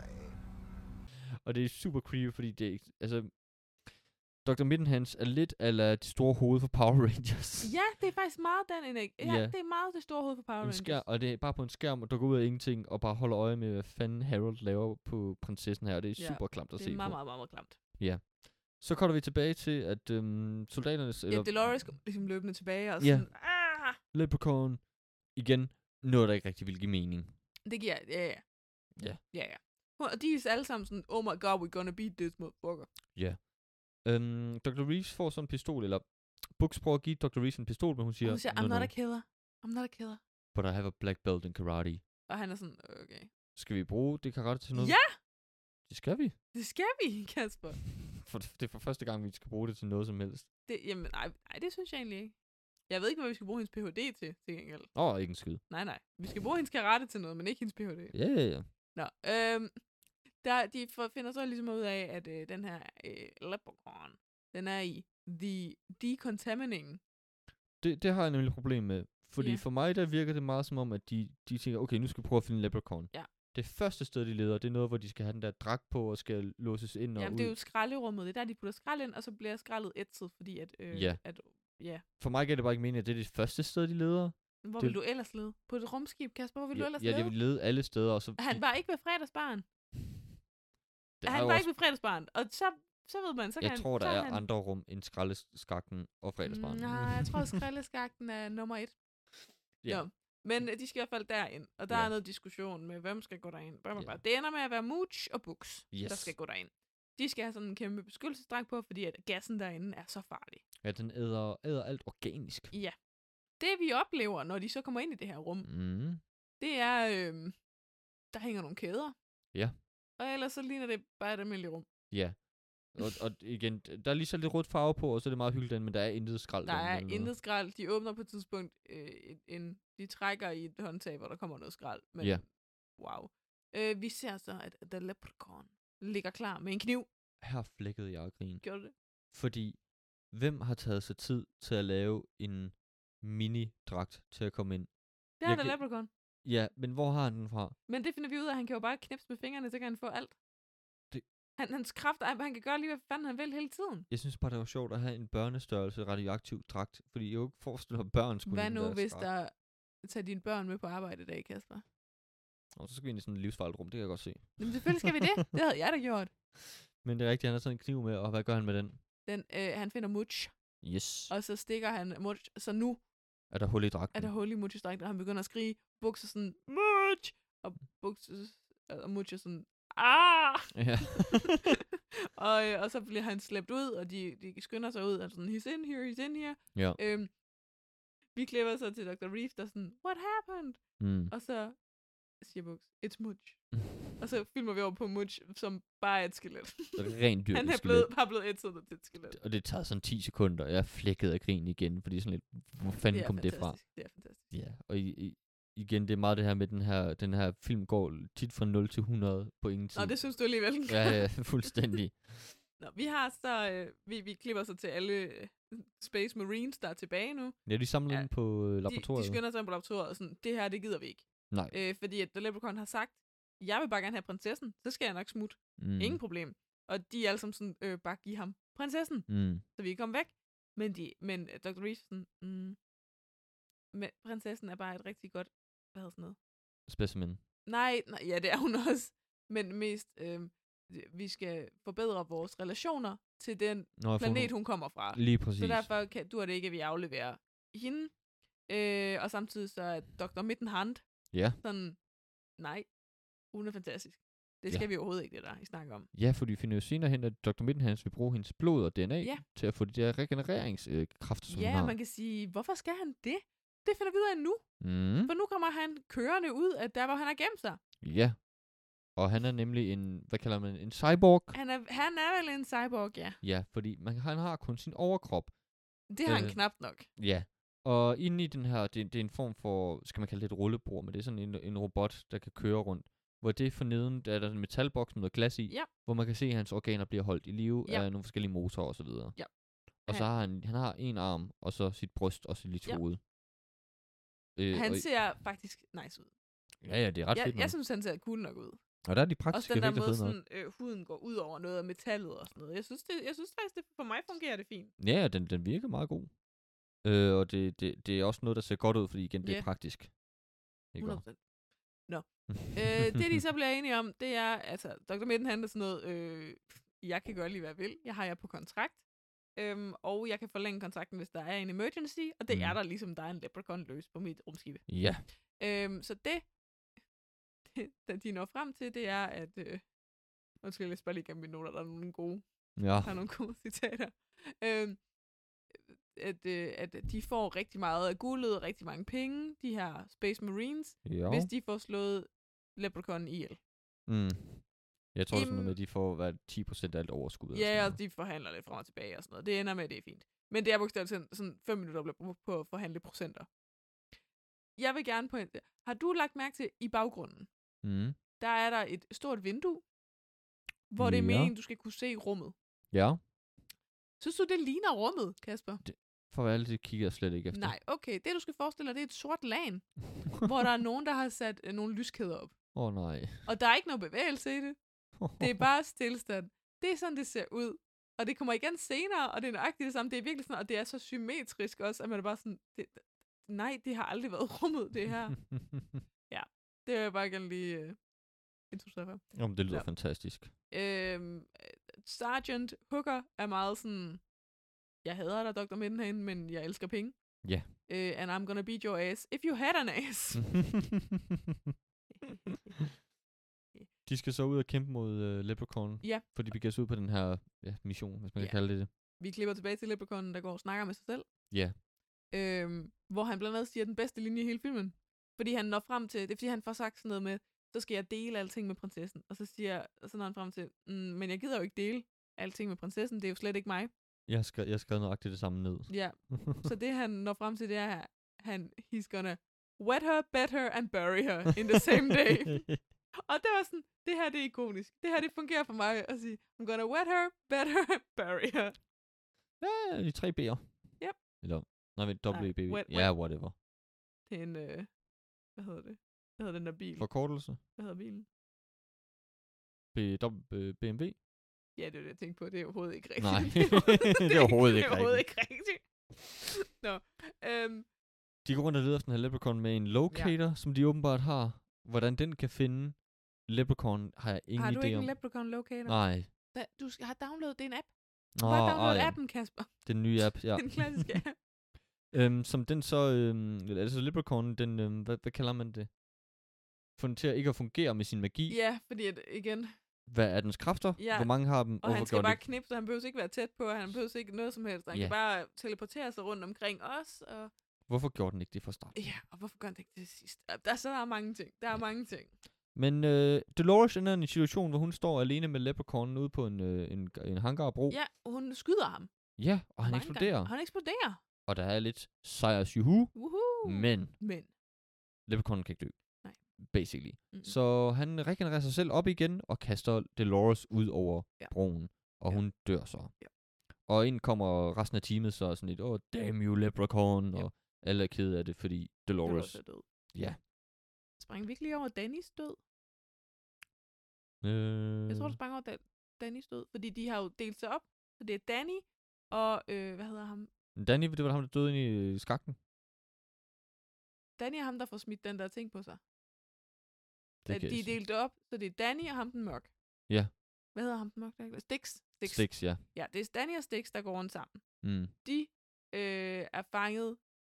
Speaker 4: og det er super creepy, fordi det er, ikke- altså, Dr. Mittenhands er lidt ala de store hoved for Power [LAUGHS] Rangers.
Speaker 2: Ja, det er faktisk meget den energi. Ja,
Speaker 4: Ja.
Speaker 2: det er meget det store hoved for Power
Speaker 4: En
Speaker 2: Rangers.
Speaker 4: skær, og det er bare på en skærm, og dukker ud af ingenting, og bare holder øje med, hvad fanden Harold laver på prinsessen her, og det er
Speaker 2: Ja,
Speaker 4: super klamt at
Speaker 2: det
Speaker 4: se
Speaker 2: er meget,
Speaker 4: på.
Speaker 2: meget, meget, meget klamt.
Speaker 4: Så kommer vi tilbage til, at øhm, soldaternes...
Speaker 2: Ja, Dolores kom ligesom løbende tilbage, og
Speaker 4: Ja.
Speaker 2: sådan, ah,
Speaker 4: Leprechaun. Igen, noget, der ikke rigtig vil give mening.
Speaker 2: det giver, ja, ja.
Speaker 4: Ja.
Speaker 2: Ja, ja. Hun- Og de er alle sammen sådan, oh my god, we're gonna beat this motherfucker.
Speaker 4: Øhm, Dr. Reeves får sådan en pistol, eller... Books prøver at give Dr. Reeves en pistol, men hun
Speaker 2: Og
Speaker 4: siger...
Speaker 2: hun siger,
Speaker 4: no,
Speaker 2: I'm
Speaker 4: no,
Speaker 2: not a killer. I'm not a killer.
Speaker 4: but I have a black belt in karate.
Speaker 2: Og han er sådan, okay.
Speaker 4: Skal vi bruge det karate til noget?
Speaker 2: Ja!
Speaker 4: Det skal vi. [LAUGHS]
Speaker 2: Det skal vi, Kasper.
Speaker 4: For det er for første gang, vi skal bruge det til noget som helst.
Speaker 2: Det, jamen, nej, nej, det synes jeg egentlig ikke. Jeg ved ikke, hvad vi skal bruge hendes Ph.D. til, til gengæld.
Speaker 4: Åh, oh, ikke en skid.
Speaker 2: Nej, nej. Vi skal bruge hendes karate til noget, men ikke hendes Ph.D.
Speaker 4: Ja, ja, ja.
Speaker 2: Nå, øhm, der, de for- finder så ligesom ud af, at øh, den her øh, leprechaun, den er i the decontaminating.
Speaker 4: Det, det har jeg nemlig et problem med. Fordi
Speaker 2: Ja.
Speaker 4: yeah. for mig, der virker det meget som om, at de, de tænker, okay, nu skal vi prøve at finde en leprechaun.
Speaker 2: Ja.
Speaker 4: Det første sted, de leder, det er noget, hvor de skal have den der dragt på og skal låses ind og
Speaker 2: Jamen,
Speaker 4: ud.
Speaker 2: det er jo skralderummet. Det er der, de putter skrald ind, og så bliver skraldet ætset, fordi at... Øh,
Speaker 4: Ja.
Speaker 2: at ja.
Speaker 4: For mig giver det bare ikke mening, at det er det første sted, de leder.
Speaker 2: Hvor
Speaker 4: Det-
Speaker 2: vil du ellers lede? På et rumskib, Kasper, hvor vil du
Speaker 4: ja,
Speaker 2: ellers
Speaker 4: ja,
Speaker 2: lede?
Speaker 4: de vil lede alle steder, og så...
Speaker 2: Han var ikke ved fredagsbaren.
Speaker 4: det
Speaker 2: han
Speaker 4: jo
Speaker 2: var ikke ved fredagsbaren. Og så, så ved man, så kan
Speaker 4: jeg
Speaker 2: han...
Speaker 4: tror, der
Speaker 2: så
Speaker 4: er
Speaker 2: han...
Speaker 4: andre rum end skraldeskakten og fredagsbarn.
Speaker 2: Mm, Nej, jeg tror, skraldeskakten er nummer et.
Speaker 4: Ja.
Speaker 2: Nå, Men øh, de skal i hvert fald derind, og der
Speaker 4: Ja.
Speaker 2: er noget diskussion med, hvem skal gå derind. Blah, blah,
Speaker 4: Ja.
Speaker 2: blah. Det ender med at være Mooch og Books, der
Speaker 4: Yes.
Speaker 2: skal gå derind. De skal have sådan en kæmpe beskyttelsesdragt på, fordi at gassen derinde er så farlig.
Speaker 4: ja, den æder, æder alt organisk.
Speaker 2: Ja. Det vi oplever, når de så kommer ind i det her rum,
Speaker 4: Mm.
Speaker 2: det er, øh, der hænger nogle kæder.
Speaker 4: Ja.
Speaker 2: Og ellers så ligner det bare et almindeligt rum.
Speaker 4: Ja. Og, og igen, der er lige så lidt rødt farve på, og så er det meget hyggeligt, derinde, men der er intet skrald.
Speaker 2: Der
Speaker 4: derinde
Speaker 2: er
Speaker 4: eller noget.
Speaker 2: intet skrald. De åbner på et tidspunkt øh, en, en... De trækker i et håndtag, hvor der kommer noget skrald. Men
Speaker 4: Ja.
Speaker 2: wow. Øh, vi ser så, at The Leprechaun ligger klar med en kniv.
Speaker 4: Her flækkede jeg og grin.
Speaker 2: Gjorde du det?
Speaker 4: Fordi, hvem har taget sig tid til at lave en mini-dragt til at komme ind?
Speaker 2: Det er The
Speaker 4: Virkelig.
Speaker 2: Leprechaun.
Speaker 4: Ja, men hvor har han den fra?
Speaker 2: Men det finder vi ud af. Han kan jo bare knipse med fingrene, så kan han få alt.
Speaker 4: Det-
Speaker 2: Han, hans kraft, er- han kan gøre lige, hvad fanden han vil hele tiden.
Speaker 4: Jeg synes bare, det var sjovt at have en børnestørrelse radioaktiv dragt, fordi jeg jo ikke forestiller mig, at børn skulle
Speaker 2: Hvad
Speaker 4: lide den
Speaker 2: nu,
Speaker 4: der
Speaker 2: hvis
Speaker 4: skrald.
Speaker 2: der tager dine børn med på arbejde i dag, Kasper?
Speaker 4: Nå, så skal vi ind i sådan et livsfarligt rum, det kan jeg godt se.
Speaker 2: Jamen selvfølgelig skal vi det. Det havde jeg da gjort.
Speaker 4: Men det er rigtigt, han har taget en kniv med, og hvad gør han med den?
Speaker 2: Den, øh, han finder Mutch,
Speaker 4: Yes.
Speaker 2: og så stikker han Mutch. Så nu
Speaker 4: Er der hul i
Speaker 2: er
Speaker 4: dragten?
Speaker 2: der hul i Mutches dragt, og han begynder at skrige. Bukser sådan, Mutch! Og bukser, og Mutch er sådan,
Speaker 4: [LAUGHS]
Speaker 2: ah!
Speaker 4: Ja.
Speaker 2: og, øh, og så bliver han slæbt ud, og de, de skynder sig ud, og sådan, he's in here, he's in here.
Speaker 4: ja.
Speaker 2: Øhm, vi klipper så til Dr. Reef, der er sådan, what happened?
Speaker 4: Mm.
Speaker 2: Og så siger Buks, it's Mutch. Og så filmer vi over på Mutch, som bare er et skelet. [LAUGHS]
Speaker 4: Rent dyrt
Speaker 2: Han er
Speaker 4: skelet.
Speaker 2: blevet, bare blevet et til et skelet.
Speaker 4: Og det tager sådan 10 sekunder, og jeg flækkede af grin igen, fordi sådan lidt, hvor fanden
Speaker 2: er
Speaker 4: kom det fra?
Speaker 2: fantastisk, Det er fantastisk.
Speaker 4: Ja, og i, i, igen, det er meget det her med den her, den her film går tit fra 0 til 100 på ingen tid.
Speaker 2: Nå, det synes du alligevel.
Speaker 4: ja, ja, [LAUGHS] fuldstændig.
Speaker 2: Nå, vi har så, øh, vi, vi klipper så til alle øh, Space Marines, der er tilbage nu.
Speaker 4: Ja, de samlede
Speaker 2: Ja,
Speaker 4: ja, den på øh,
Speaker 2: De, de
Speaker 4: laboratoriet.
Speaker 2: skynder sig ind på laboratoriet og sådan, det her, det gider vi ikke.
Speaker 4: Nej.
Speaker 2: Øh, fordi at The Leprechaun har sagt, jeg vil bare gerne have prinsessen, så skal jeg nok smutte.
Speaker 4: Mm.
Speaker 2: Mm. Ingen problem. Og de er alle sammen sådan, øh, bare giv ham prinsessen,
Speaker 4: Mm.
Speaker 2: så vi kan komme væk. Men, de, men øh, Dr. Reeves er sådan, mm, men prinsessen er bare et rigtig godt, hvad hedder sådan noget?
Speaker 4: Specimen.
Speaker 2: Nej, nej, ja, det er hun [LAUGHS] også. Men mest, øh, vi skal forbedre vores relationer til den
Speaker 4: Nå, jeg får
Speaker 2: planet,
Speaker 4: nu-
Speaker 2: hun kommer fra.
Speaker 4: Lige præcis.
Speaker 2: Så derfor kan, dur det ikke, at vi afleverer hende. Øh, og samtidig så er Dr. Mittenhand
Speaker 4: Ja.
Speaker 2: sådan, nej, hun er fantastisk. Det
Speaker 4: Ja.
Speaker 2: skal ja. vi overhovedet ikke, det der, I snakker om.
Speaker 4: Ja, fordi vi finder jo senere hen, at Dr. Mittenhans vil bruge hendes blod og DNA
Speaker 2: Ja.
Speaker 4: til at få de der regenereringskræfter, øh, kræfter, som hun
Speaker 2: Ja,
Speaker 4: har.
Speaker 2: man kan sige, hvorfor skal han det? Det finder vi ud af nu,
Speaker 4: Mm.
Speaker 2: for nu kommer han kørende ud af der, hvor han har gemt sig.
Speaker 4: Ja. Og han er nemlig en, hvad kalder man, en cyborg.
Speaker 2: Han er, han er vel en cyborg, ja.
Speaker 4: Ja, fordi man, han har kun sin overkrop.
Speaker 2: Det har øh. han
Speaker 4: Øh.
Speaker 2: knap nok.
Speaker 4: Ja. Og inde i den her, det, det er en form for, skal man kalde det et rullebord, men det er sådan en, en robot, der kan køre rundt. Hvor det forneden, der er der en metalboks med noget glas i,
Speaker 2: Ja.
Speaker 4: hvor man kan se, at hans organer bliver holdt i live
Speaker 2: Ja.
Speaker 4: af nogle forskellige motorer osv. Og,
Speaker 2: Ja.
Speaker 4: og så
Speaker 2: Han-
Speaker 4: har han, han har en arm, og så sit bryst og sit lille
Speaker 2: Ja.
Speaker 4: hoved. Øh,
Speaker 2: Han
Speaker 4: og-
Speaker 2: ser faktisk nice ud.
Speaker 4: Ja, ja, det er ret
Speaker 2: Jeg,
Speaker 4: fedt.
Speaker 2: jeg
Speaker 4: nok.
Speaker 2: synes, han ser cool nok ud.
Speaker 4: og der er de
Speaker 2: Også
Speaker 4: praktiske
Speaker 2: den der
Speaker 4: effekter
Speaker 2: måde,
Speaker 4: fede nok.
Speaker 2: sådan, øh, huden går ud over noget af metallet og sådan noget. Jeg synes, det, jeg synes faktisk, det, for mig fungerer det fint.
Speaker 4: Ja, ja, den, den virker meget god. Øh, og det, det, det er også noget, der ser godt ud, fordi igen, det
Speaker 2: Ja.
Speaker 4: er praktisk. Ikke
Speaker 2: 100%.
Speaker 4: hva'?
Speaker 2: øh, det,
Speaker 4: [LAUGHS]
Speaker 2: de så bliver enige om, det er, altså, Dr. Mitten handler sådan noget, øh, jeg kan gøre lige, hvad jeg vil. Jeg har jer på kontrakt. Øhm, og jeg kan forlænge kontrakten, hvis der er en emergency. Og det mm.
Speaker 4: Mm.
Speaker 2: er der, ligesom der er en leprechaun løs på mit rumskib.
Speaker 4: ja,
Speaker 2: Øhm, så det, det, det, de når frem til, det er, at... Øh, undskyld, jeg skal bare lige gennem mine noter, der er nogle gode
Speaker 4: ja.
Speaker 2: Der er nogle gode [LAUGHS] citater. Øhm, at, øh, at de får rigtig meget af guldet, rigtig mange penge, de her Space Marines,
Speaker 4: Ja.
Speaker 2: hvis de får slået Leprechaun ihjel.
Speaker 4: Mm. Jeg tror, det er sådan
Speaker 2: Im-
Speaker 4: noget med, at de får hvad, 10% af alt overskud. eller sådan
Speaker 2: Ja,
Speaker 4: noget.
Speaker 2: og de forhandler lidt frem og tilbage og sådan noget. Det ender med, at det er fint. Men det er bogstaveligt talt sådan fem minutter, der bliver brugt på at forhandle procenter. Jeg vil gerne pointe. Har du lagt mærke til, i baggrunden,
Speaker 4: Mm.
Speaker 2: der er der et stort vindue, hvor det er
Speaker 4: Ja.
Speaker 2: meningen, du skal kunne se rummet.
Speaker 4: Ja,
Speaker 2: Synes du, det ligner rummet, Kasper?
Speaker 4: for alle det kigger jeg slet ikke efter.
Speaker 2: Nej, okay. Det, du skal forestille dig, det er et sort lagen, hvor
Speaker 4: [LAUGHS]
Speaker 2: der er nogen, der har sat øh, nogle lyskæder op.
Speaker 4: Åh oh, nej.
Speaker 2: Og der er ikke noget bevægelse i det. Det er bare stillestand. Det er sådan, det ser ud. Og det kommer igen senere, og det er nøjagtigt det samme. Det er virkelig sådan, og det er så symmetrisk også, at man er bare sådan, det, nej, det har aldrig været [LAUGHS] rummet, det her. det vil jeg bare gerne lige øh, introducere for.
Speaker 4: [LAUGHS] Jamen, det lyder
Speaker 2: Ja.
Speaker 4: ja.
Speaker 2: [LAUGHS]
Speaker 4: fantastisk.
Speaker 2: Øhm, Sergeant Hooker er meget sådan, jeg hader dig, Dr. Mindenhane, men jeg elsker penge.
Speaker 4: Ja.
Speaker 2: Øh, and I'm gonna beat your ass, if you had an ass. [LAUGHS]
Speaker 4: de skal så ud og kæmpe mod uh, Leprechaun.
Speaker 2: Ja.
Speaker 4: For de begiver sig ud på den her ja, mission, hvis man
Speaker 2: Ja.
Speaker 4: kan kalde det det.
Speaker 2: Vi klipper tilbage til Leprechaunen, der går og snakker med sig selv.
Speaker 4: Ja.
Speaker 2: øhm, hvor han blandt andet siger den bedste linje i hele filmen. Fordi han når frem til, det er fordi han får sagt sådan noget med, så skal jeg dele alting med prinsessen. Og så siger, så når han frem til, mm, men jeg gider jo ikke dele alting med prinsessen, det er jo slet ikke mig.
Speaker 4: Jeg har skrevet, jeg har skrevet nøjagtigt det samme ned.
Speaker 2: Ja, så det han når frem til, det er, han, he's gonna wet her, bet her, and bury her in the same
Speaker 4: [LAUGHS]
Speaker 2: day. og det var sådan, det her det er ikonisk. Det her det fungerer for mig at sige, I'm gonna wet her, bet her, and bury her.
Speaker 4: ja, de tre B'er.
Speaker 2: Yep.
Speaker 4: Eller, nej, men
Speaker 2: Nej,
Speaker 4: WBB.
Speaker 2: wet-
Speaker 4: Ja, whatever.
Speaker 2: Det er en, øh, hvad hedder det? Hvad hedder den der bil?
Speaker 4: Forkortelse.
Speaker 2: Hvad hedder bilen?
Speaker 4: B, w, øh, BMW.
Speaker 2: Ja, det er det, jeg tænkte på. Det er overhovedet ikke rigtigt.
Speaker 4: Nej, [LAUGHS]
Speaker 2: det
Speaker 4: det er overhovedet
Speaker 2: Det
Speaker 4: ikke
Speaker 2: er overhovedet
Speaker 4: rigtigt.
Speaker 2: ikke rigtigt. Nå, [LAUGHS] øhm,
Speaker 4: De går rundt og leder efter den her leprechaun med en locator, ja. som de åbenbart har. Hvordan den kan finde leprechaun, har jeg ingen
Speaker 2: har du
Speaker 4: idé
Speaker 2: ikke
Speaker 4: om.
Speaker 2: en Leprechaun Locator?
Speaker 4: Nej.
Speaker 2: Da, du skal, har downloadet, det er en app. Du
Speaker 4: Nå,
Speaker 2: har
Speaker 4: ah,
Speaker 2: downloadet
Speaker 4: ja.
Speaker 2: appen, Kasper.
Speaker 4: Den nye app, ja.
Speaker 2: [LAUGHS] Den klassiske
Speaker 4: [LAUGHS]
Speaker 2: app.
Speaker 4: Øhm, som den så, øhm, altså Leprechaun, den, øhm, hvad, hvad kalder man det? Får den til at ikke at fungere med sin magi.
Speaker 2: Ja, fordi at, igen,
Speaker 4: Hvad er dens kræfter?
Speaker 2: Ja.
Speaker 4: Hvor mange har dem?
Speaker 2: og han
Speaker 4: hvor
Speaker 2: skal
Speaker 4: gør den
Speaker 2: bare
Speaker 4: ikke?
Speaker 2: knipse, og han behøver ikke være tæt på, og han behøver ikke noget som helst. Han
Speaker 4: Ja.
Speaker 2: kan bare teleportere sig rundt omkring os, og,
Speaker 4: Hvorfor gjorde den ikke det fra start?
Speaker 2: ja, og hvorfor gør han det ikke det sidst? Der, så der er mange ting. Der er
Speaker 4: Ja.
Speaker 2: mange ting.
Speaker 4: Men øh, Dolores ender i en situation, hvor hun står alene med Leprechaunen ude på en, øh, en, en hangarbro.
Speaker 2: Ja, hun skyder ham.
Speaker 4: ja og han
Speaker 2: mange
Speaker 4: eksploderer.
Speaker 2: Gange. Han eksploderer.
Speaker 4: Og der er lidt sejrs juhu,
Speaker 2: Woohoo.
Speaker 4: men
Speaker 2: Men.
Speaker 4: Leprechaunen kan ikke dø.
Speaker 2: Uh. Nej.
Speaker 4: Basically.
Speaker 2: Mm.
Speaker 4: Så han regenererer sig selv op igen og kaster Dolores ud over
Speaker 2: Ja.
Speaker 4: ja. broen, og
Speaker 2: Ja.
Speaker 4: ja. hun dør så.
Speaker 2: Ja.
Speaker 4: Og ind kommer resten af teamet så er sådan lidt, åh, oh, damn you leprechaun,
Speaker 2: Ja.
Speaker 4: og alle er kede af det, fordi Dolores...
Speaker 2: Dolores er død.
Speaker 4: Ja.
Speaker 2: Sprang vi ikke lige over Dannys død?
Speaker 4: Øh,
Speaker 2: Jeg tror, du sprang over Dan- Dannys død, fordi de har jo delt sig op. Så det er Danny og, øh, hvad hedder ham?
Speaker 4: Danny, det var ham, der døde ind i øh, skakten.
Speaker 2: Danny er ham, der får smidt den der ting på sig.
Speaker 4: Det
Speaker 2: at
Speaker 4: kan jeg
Speaker 2: de er
Speaker 4: ikke sige.
Speaker 2: delt op, så det er Danny og ham den mørk.
Speaker 4: Ja.
Speaker 2: Hvad hedder ham den mørk? Der? Stix. Stix.
Speaker 4: Sticks, ja.
Speaker 2: Ja, det er Danny og Stix, der går rundt sammen.
Speaker 4: Mm.
Speaker 2: De øh, er fanget,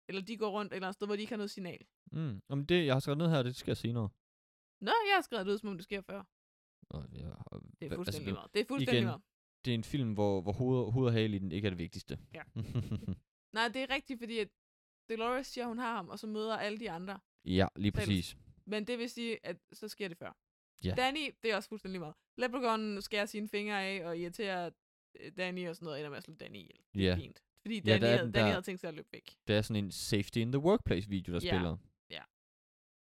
Speaker 2: eller de går rundt et eller andet sted, hvor de ikke har noget signal.
Speaker 4: Mm. Om det, jeg har skrevet ned her, det sker senere.
Speaker 2: Nå, jeg har skrevet det ud, som om det sker før.
Speaker 4: Og, ja, og,
Speaker 2: Det
Speaker 4: hva-
Speaker 2: er fuldstændig
Speaker 4: det,
Speaker 2: meget. Det er fuldstændig
Speaker 4: igen.
Speaker 2: meget.
Speaker 4: det er en film, hvor, hvor hoved, hoved og hale i den ikke er det vigtigste.
Speaker 2: Ja. Nej, det er rigtigt, fordi at Dolores siger, hun har ham, og så møder alle de andre.
Speaker 4: [LAUGHS] ja, lige
Speaker 2: Selv.
Speaker 4: præcis.
Speaker 2: Men det vil sige, at så sker det før.
Speaker 4: Ja.
Speaker 2: Danny, det er også fuldstændig lige meget. Leprechaunen skærer sine fingre af og irriterer øh, Danny og sådan noget, ender med at slå Danny ihjel. Det er
Speaker 4: Ja.
Speaker 2: fint. Fordi
Speaker 4: der
Speaker 2: Danny,
Speaker 4: er
Speaker 2: ja, havde,
Speaker 4: den
Speaker 2: Danny
Speaker 4: der-
Speaker 2: havde tænkt sig at løbe væk.
Speaker 4: Det er sådan en safety in the workplace video, der
Speaker 2: Ja.
Speaker 4: spiller.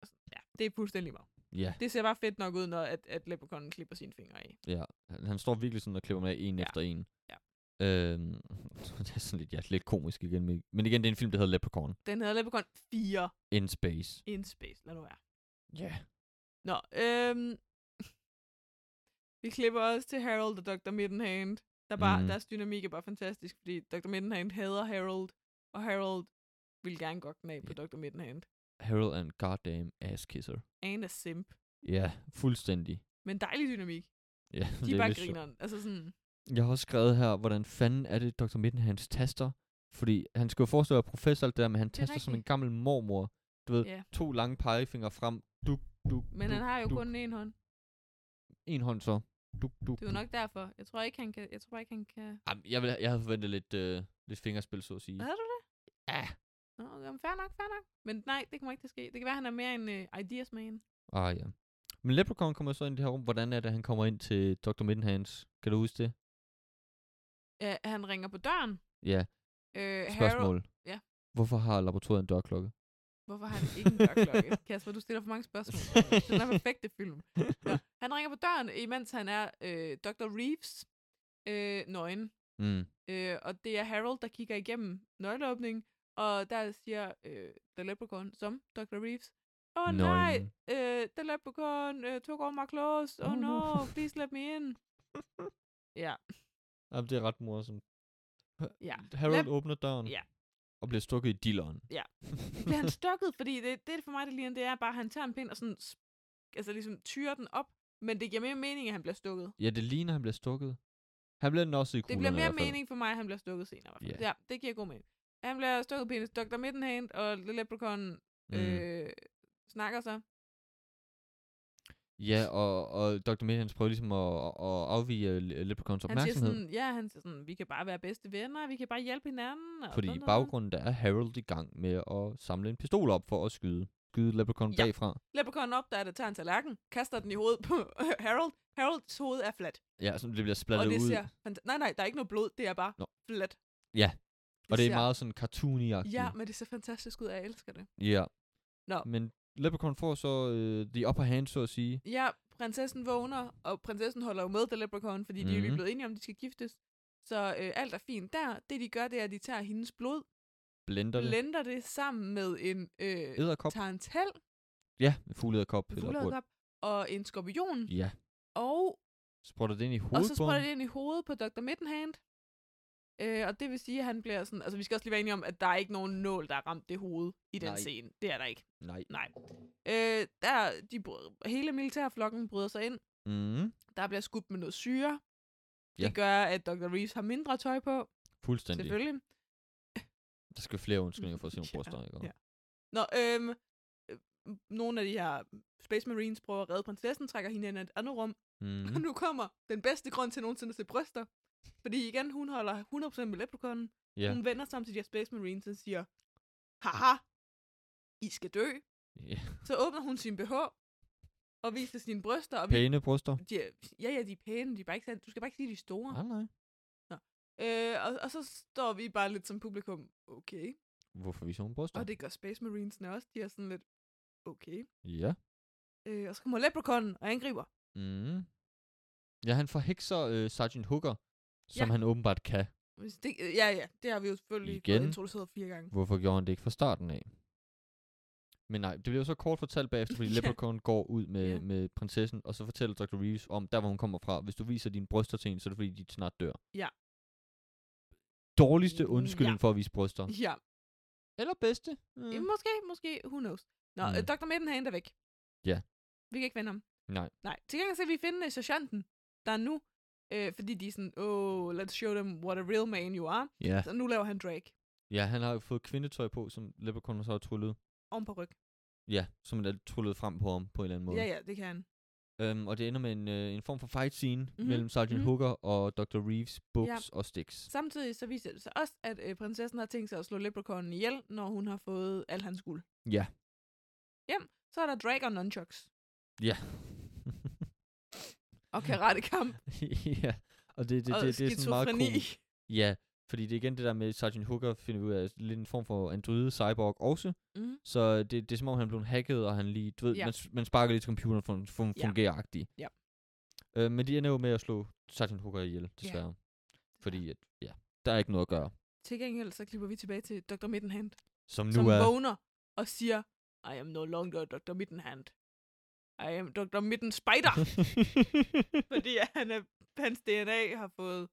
Speaker 2: Og sådan, Ja, det er fuldstændig lige meget.
Speaker 4: Ja.
Speaker 2: Det ser bare fedt nok ud, når at, at Leprechaunen klipper sine fingre af.
Speaker 4: Ja, han, han står virkelig sådan og klipper med en
Speaker 2: Ja.
Speaker 4: ja. efter en.
Speaker 2: Ja.
Speaker 4: Øhm, [LAUGHS] det er sådan lidt, ja, lidt komisk igen. Men men igen, det er en film, der hedder Leprechaun
Speaker 2: Den hedder Leprechaun 4
Speaker 4: in Space.
Speaker 2: in Space. Lad nu være.
Speaker 4: Ja.
Speaker 2: Nå, øhm... [LAUGHS] Vi klipper også til Harold og Dr. Middenhand. Der bare, mm.
Speaker 4: Mhm.
Speaker 2: Deres dynamik er bare fantastisk, fordi Dr. Middenhand hader Harold, og Harold vil gerne godt knæ på Dr. Middenhand.
Speaker 4: Harold and goddamn ass kisser.
Speaker 2: And a simp.
Speaker 4: Ja, fuldstændig.
Speaker 2: Men dejlig dynamik.
Speaker 4: Ja,
Speaker 2: De er bare
Speaker 4: lidt sjovt.
Speaker 2: grineren. Altså sådan,
Speaker 4: Jeg har også skrevet her, hvordan fanden er det, Dr. Mittenhands taster? Fordi han skulle jo forestille at være professor og alt det der, men han
Speaker 2: er
Speaker 4: taster som en
Speaker 2: rigtigt.
Speaker 4: gammel mormor. Du ved,
Speaker 2: ja.
Speaker 4: to lange pegefingre frem. Duk, duk,
Speaker 2: Men
Speaker 4: duk,
Speaker 2: han har jo
Speaker 4: duk.
Speaker 2: kun en hånd.
Speaker 4: En hånd så. Duk, duk,
Speaker 2: Det er jo nok derfor. Jeg tror ikke, han kan... Jeg tror ikke, han kan...
Speaker 4: Jamen, jeg, vil, jeg havde forventet lidt, øh, lidt fingerspil, så at sige.
Speaker 2: Havde du det?
Speaker 4: Ja.
Speaker 2: Nå, jamen, fair nok, fair nok. Men nej, det kommer ikke til at ske. Det kan være, han er mere en uh, ideas øh, man.
Speaker 4: Ah, ja. Men Leprechaun kommer så ind i det her rum. Hvordan er det, han kommer ind til Dr. Middenhands? Kan du huske det?
Speaker 2: Øh, han ringer på døren.
Speaker 4: Ja,
Speaker 2: Øh, Harold,
Speaker 4: spørgsmål.
Speaker 2: ja.
Speaker 4: Hvorfor har laboratoriet en dørklokke?
Speaker 2: hvorfor har han ikke en
Speaker 4: [LAUGHS]
Speaker 2: dørklokke? Kasper, du stiller for mange spørgsmål. Det er den her perfekte film. Ja. Han ringer på døren, imens han er øh, Dr. Reeves øh, nøgen.
Speaker 4: mm.
Speaker 2: Øh, og det er Harold, der kigger igennem nøgleåbningen, og der siger øh, The Leprechaun, som Dr. Reeves, Åh oh, nej,
Speaker 4: Nøgen.
Speaker 2: øh, The Leprechaun uh, took all my clothes, oh,
Speaker 4: Oh,
Speaker 2: oh
Speaker 4: no."
Speaker 2: no, please let me
Speaker 4: [LAUGHS]
Speaker 2: in. ja,
Speaker 4: Jamen, det er ret morsomt.
Speaker 2: ja.
Speaker 4: Hm, Harold
Speaker 2: Lep-
Speaker 4: åbner døren
Speaker 2: Ja.
Speaker 4: og bliver stukket i dilleren.
Speaker 2: Ja. Bliver han stukket, fordi det, det for mig, det ligner, det er bare, at han tager en pind og sådan, sp- altså ligesom tyrer den op, men det giver mere mening, at han bliver stukket.
Speaker 4: [LAUGHS] ja, det ligner, han bliver stukket. Han bliver også i
Speaker 2: Det
Speaker 4: kuglerne
Speaker 2: bliver
Speaker 4: i
Speaker 2: mere
Speaker 4: hvert fald.
Speaker 2: mening for mig, at han bliver stukket senere. i hvert fald.
Speaker 4: Ja.
Speaker 2: Ja, det giver god mening. Han bliver stukket penis. Dr. Middenhand og The Leprechaun
Speaker 4: Mm.
Speaker 2: øh, snakker så.
Speaker 4: Ja, og, og Dr. Midhans prøver ligesom at, at afvige øh, Le- Leprechauns
Speaker 2: Han siger
Speaker 4: opmærksomhed,
Speaker 2: sådan, ja, han siger sådan, vi kan bare være bedste venner, vi kan bare hjælpe hinanden. Og
Speaker 4: fordi
Speaker 2: sådan
Speaker 4: i
Speaker 2: noget."
Speaker 4: baggrunden der er Harold i gang med at samle en pistol op for at skyde, skyde Leprechaun
Speaker 2: Ja.
Speaker 4: bagfra.
Speaker 2: Leprechaun opdager det, tager en tallerken, kaster den i hovedet på [LAUGHS] Harold. Harolds hoved er fladt.
Speaker 4: Ja, så det bliver
Speaker 2: Og
Speaker 4: splattet
Speaker 2: det
Speaker 4: ud.
Speaker 2: ser... fanta- Nej, nej, der er ikke noget blod, det er bare
Speaker 4: Nå.
Speaker 2: fladt.
Speaker 4: Ja, og det er
Speaker 2: ser-
Speaker 4: meget sådan cartoony
Speaker 2: Ja, men det ser fantastisk ud, og jeg elsker det.
Speaker 4: ja.
Speaker 2: Nå.
Speaker 4: Men Leprechaun får så øh, the upper hand, så at sige.
Speaker 2: Ja, prinsessen vågner, og prinsessen holder jo med The Leprechaun, fordi mm. de er jo lige
Speaker 4: Mhm.
Speaker 2: blevet enige om, at de skal giftes. Så øh, alt er fint der. Det, de gør, det er, at de tager hendes blod,
Speaker 4: Blender det.
Speaker 2: blender det sammen med en øh,
Speaker 4: Æderkop.
Speaker 2: tarantel,
Speaker 4: Ja, fuglederkop.
Speaker 2: en
Speaker 4: eller
Speaker 2: fuglederkop, og en skorpion,
Speaker 4: burt. Ja.
Speaker 2: og,
Speaker 4: Sprutter det ind i
Speaker 2: og så sprøjter
Speaker 4: hovedbunden.
Speaker 2: det ind i hovedet på Dr. Middenhand. Øh, og det vil sige, at han bliver sådan... Altså, vi skal også lige være enige om, at der er ikke nogen nål, der har ramt det hoved i den
Speaker 4: Nej.
Speaker 2: scene. Det er der ikke.
Speaker 4: Nej.
Speaker 2: Nej. Øh, der, de, bryder- hele militærflokken bryder sig ind.
Speaker 4: Mm,
Speaker 2: Der bliver skudt med noget syre. Det
Speaker 4: Ja.
Speaker 2: gør, at Dr. Reeves har mindre tøj på,
Speaker 4: fuldstændig.
Speaker 2: selvfølgelig.
Speaker 4: Der skal flere undskyldninger for at se nogle
Speaker 2: Ja,
Speaker 4: bryster, ikke?
Speaker 2: ja. Nå, øhm, øh, nogle af de her Space Marines prøver at redde prinsessen, trækker hende ind i et andet rum, mm. og
Speaker 4: Mm.
Speaker 2: nu kommer den bedste grund til nogensinde at se bryster. Fordi igen, hun holder 100% med leprechaun.
Speaker 4: Ja.
Speaker 2: Yeah. Hun vender sig om til de her Space Marines og siger, haha, I skal dø.
Speaker 4: ja.
Speaker 2: Så åbner hun sin BH og viser sine bryster, og vi
Speaker 4: Pæne bryster.
Speaker 2: de er, ja, ja, de er pæne, de er bare ikke, særlig- du skal bare ikke sige, de er store.
Speaker 4: Nej, nej.
Speaker 2: Øh, og, og så står vi bare lidt som publikum, okay.
Speaker 4: Hvorfor viser hun bryster?
Speaker 2: Og det gør Space Marinesne også, de er sådan lidt, okay.
Speaker 4: Ja.
Speaker 2: Øh, og så kommer Leprechaunen og angriber.
Speaker 4: Mm. Ja, han forhekser øh, Sergeant Hooker, som
Speaker 2: Ja.
Speaker 4: han åbenbart kan.
Speaker 2: Hvis Det, øh, ja, ja, det har vi jo selvfølgelig fået
Speaker 4: Igen.
Speaker 2: introduceret fire gange.
Speaker 4: Hvorfor gjorde han det ikke fra starten af? Men nej, det bliver jo så kort fortalt bagefter, fordi
Speaker 2: [LAUGHS] Ja.
Speaker 4: Leprechaun går ud med,
Speaker 2: Ja.
Speaker 4: med prinsessen, og så fortæller Dr. Reeves om, der hvor hun kommer fra. Hvis du viser dine bryster til hende, så er det fordi, de snart dør.
Speaker 2: Ja. Mm,
Speaker 4: Dårligste undskyldning ja. for at vise bryster.
Speaker 2: Ja,
Speaker 4: Eller bedste. Mm.
Speaker 2: mm. måske, måske, who knows. Nå,
Speaker 4: Mm.
Speaker 2: mm. øh, Dr. Middenhand er væk.
Speaker 4: Ja.
Speaker 2: Vi kan ikke vende ham.
Speaker 4: Nej.
Speaker 2: Nej, til gengæld skal vi finde øh, sergeanten, der er nu, øh, fordi de er sådan, oh, let's show them what a real man you are.
Speaker 4: Ja.
Speaker 2: Så nu laver han drag
Speaker 4: ja, han har jo fået kvindetøj på, som Leprechaun så har tryllet.
Speaker 2: om på ryg.
Speaker 4: Ja, som er tryllet frem på ham på en eller anden måde.
Speaker 2: Ja, ja, det kan han.
Speaker 4: Øhm, og det ender med en, øh, en form for fight scene mm-hmm.
Speaker 2: Mhm,
Speaker 4: mellem Sergeant mm-hmm.
Speaker 2: mhm.
Speaker 4: Hooker og Dr. Reeves, Books ja. og Sticks.
Speaker 2: Samtidig så viser det sig også, at øh, prinsessen har tænkt sig at slå leprechaunen ihjel, når hun har fået al hans guld.
Speaker 4: Ja.
Speaker 2: Så er der drag og nunchucks
Speaker 4: Ja. [LAUGHS]
Speaker 2: og karatekamp
Speaker 4: ja. Og det, det,
Speaker 2: og
Speaker 4: det, det, er sådan meget
Speaker 2: skizofreni.
Speaker 4: komisk. Ja, fordi det er igen det der med, at Sergeant Hooker finder ud af er lidt en form for androide cyborg også.
Speaker 2: Mhm.
Speaker 4: Så det, det er som om, han blev hacket, og han lige, du ved, ja.
Speaker 2: Ja.
Speaker 4: man, s- man sparker lidt til computeren, for den fun-
Speaker 2: Ja.
Speaker 4: fungerer agtig.
Speaker 2: Ja.
Speaker 4: Øh, men de ender jo med at slå Sergeant Hooker ihjel, desværre. Fordi, at, ja, der er ikke noget at gøre.
Speaker 2: Til gengæld så klipper vi tilbage til Dr. Middenhand,
Speaker 4: Som nu
Speaker 2: som
Speaker 4: er...
Speaker 2: vågner og siger, I am no longer Dr. Middenhand. I am Dr. Midden
Speaker 4: [LAUGHS]
Speaker 2: Spider, fordi at han er, hans DNA har fået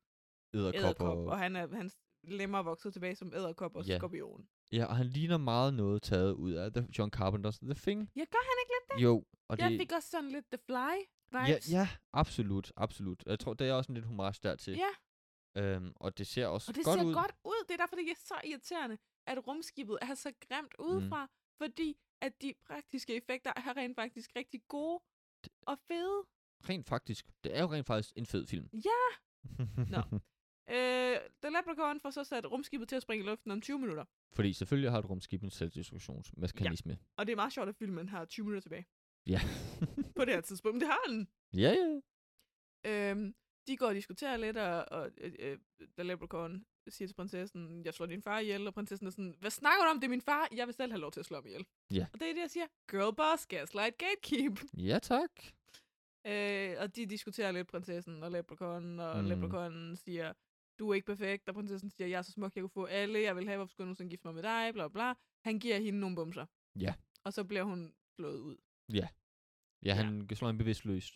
Speaker 4: Æderkopper.
Speaker 2: æderkop, og han er, hans lemmer er vokset tilbage som æderkop og
Speaker 4: Ja.
Speaker 2: ja. skorpion.
Speaker 4: Ja, og han ligner meget noget taget ud af The John Carpenter's The Thing.
Speaker 2: Ja, gør han ikke lidt det?
Speaker 4: Jo, og
Speaker 2: Jeg
Speaker 4: det...
Speaker 2: fik også sådan lidt The Fly
Speaker 4: ja,
Speaker 2: vibes.
Speaker 4: ja, absolut, absolut. Jeg tror, der er også en lidt homage dertil.
Speaker 2: ja.
Speaker 4: Øhm, og det ser også
Speaker 2: Og det
Speaker 4: godt
Speaker 2: godt ser
Speaker 4: ud.
Speaker 2: ud. godt ud. Det er derfor, det er så irriterende, at rumskibet er så grimt udefra, mm. fordi at de praktiske effekter er rent faktisk rigtig gode og fede.
Speaker 4: Rent faktisk. Det er jo rent faktisk en fed film.
Speaker 2: Ja!
Speaker 4: [LAUGHS]
Speaker 2: Nå. Øh, The Leprechaun får så sat rumskibet til at springe i luften om 20 minutter.
Speaker 4: Fordi selvfølgelig har et rumskib en selvdestruktionsmekanisme. Ja.
Speaker 2: Og det er meget sjovt, at filmen har 20 minutter tilbage.
Speaker 4: Ja. [LAUGHS]
Speaker 2: på det her tidspunkt. Men det har han.
Speaker 4: ja, ja.
Speaker 2: Øhm, de går og diskuterer lidt, og, og øh, øh, da Leprechaun siger til prinsessen, jeg slår din far ihjel, og prinsessen er sådan, hvad snakker du om, det er min far, jeg vil selv have lov til at slå ham ihjel.
Speaker 4: Ja.
Speaker 2: Og det er det, jeg siger, girl boss, gaslight, gatekeep.
Speaker 4: Ja, tak.
Speaker 2: Øh, og de diskuterer lidt prinsessen og Leprechaun, og
Speaker 4: Mm.
Speaker 2: mm. Leprechaun siger, du er ikke perfekt, og prinsessen siger, jeg er så smuk, jeg kunne få alle, jeg vil have, hvorfor skulle jeg nogensinde gifte mig med dig, bla bla. Han giver hende nogle bumser.
Speaker 4: Ja.
Speaker 2: Og så bliver hun slået ud.
Speaker 4: Ja, han ja. slår en bevidstløst.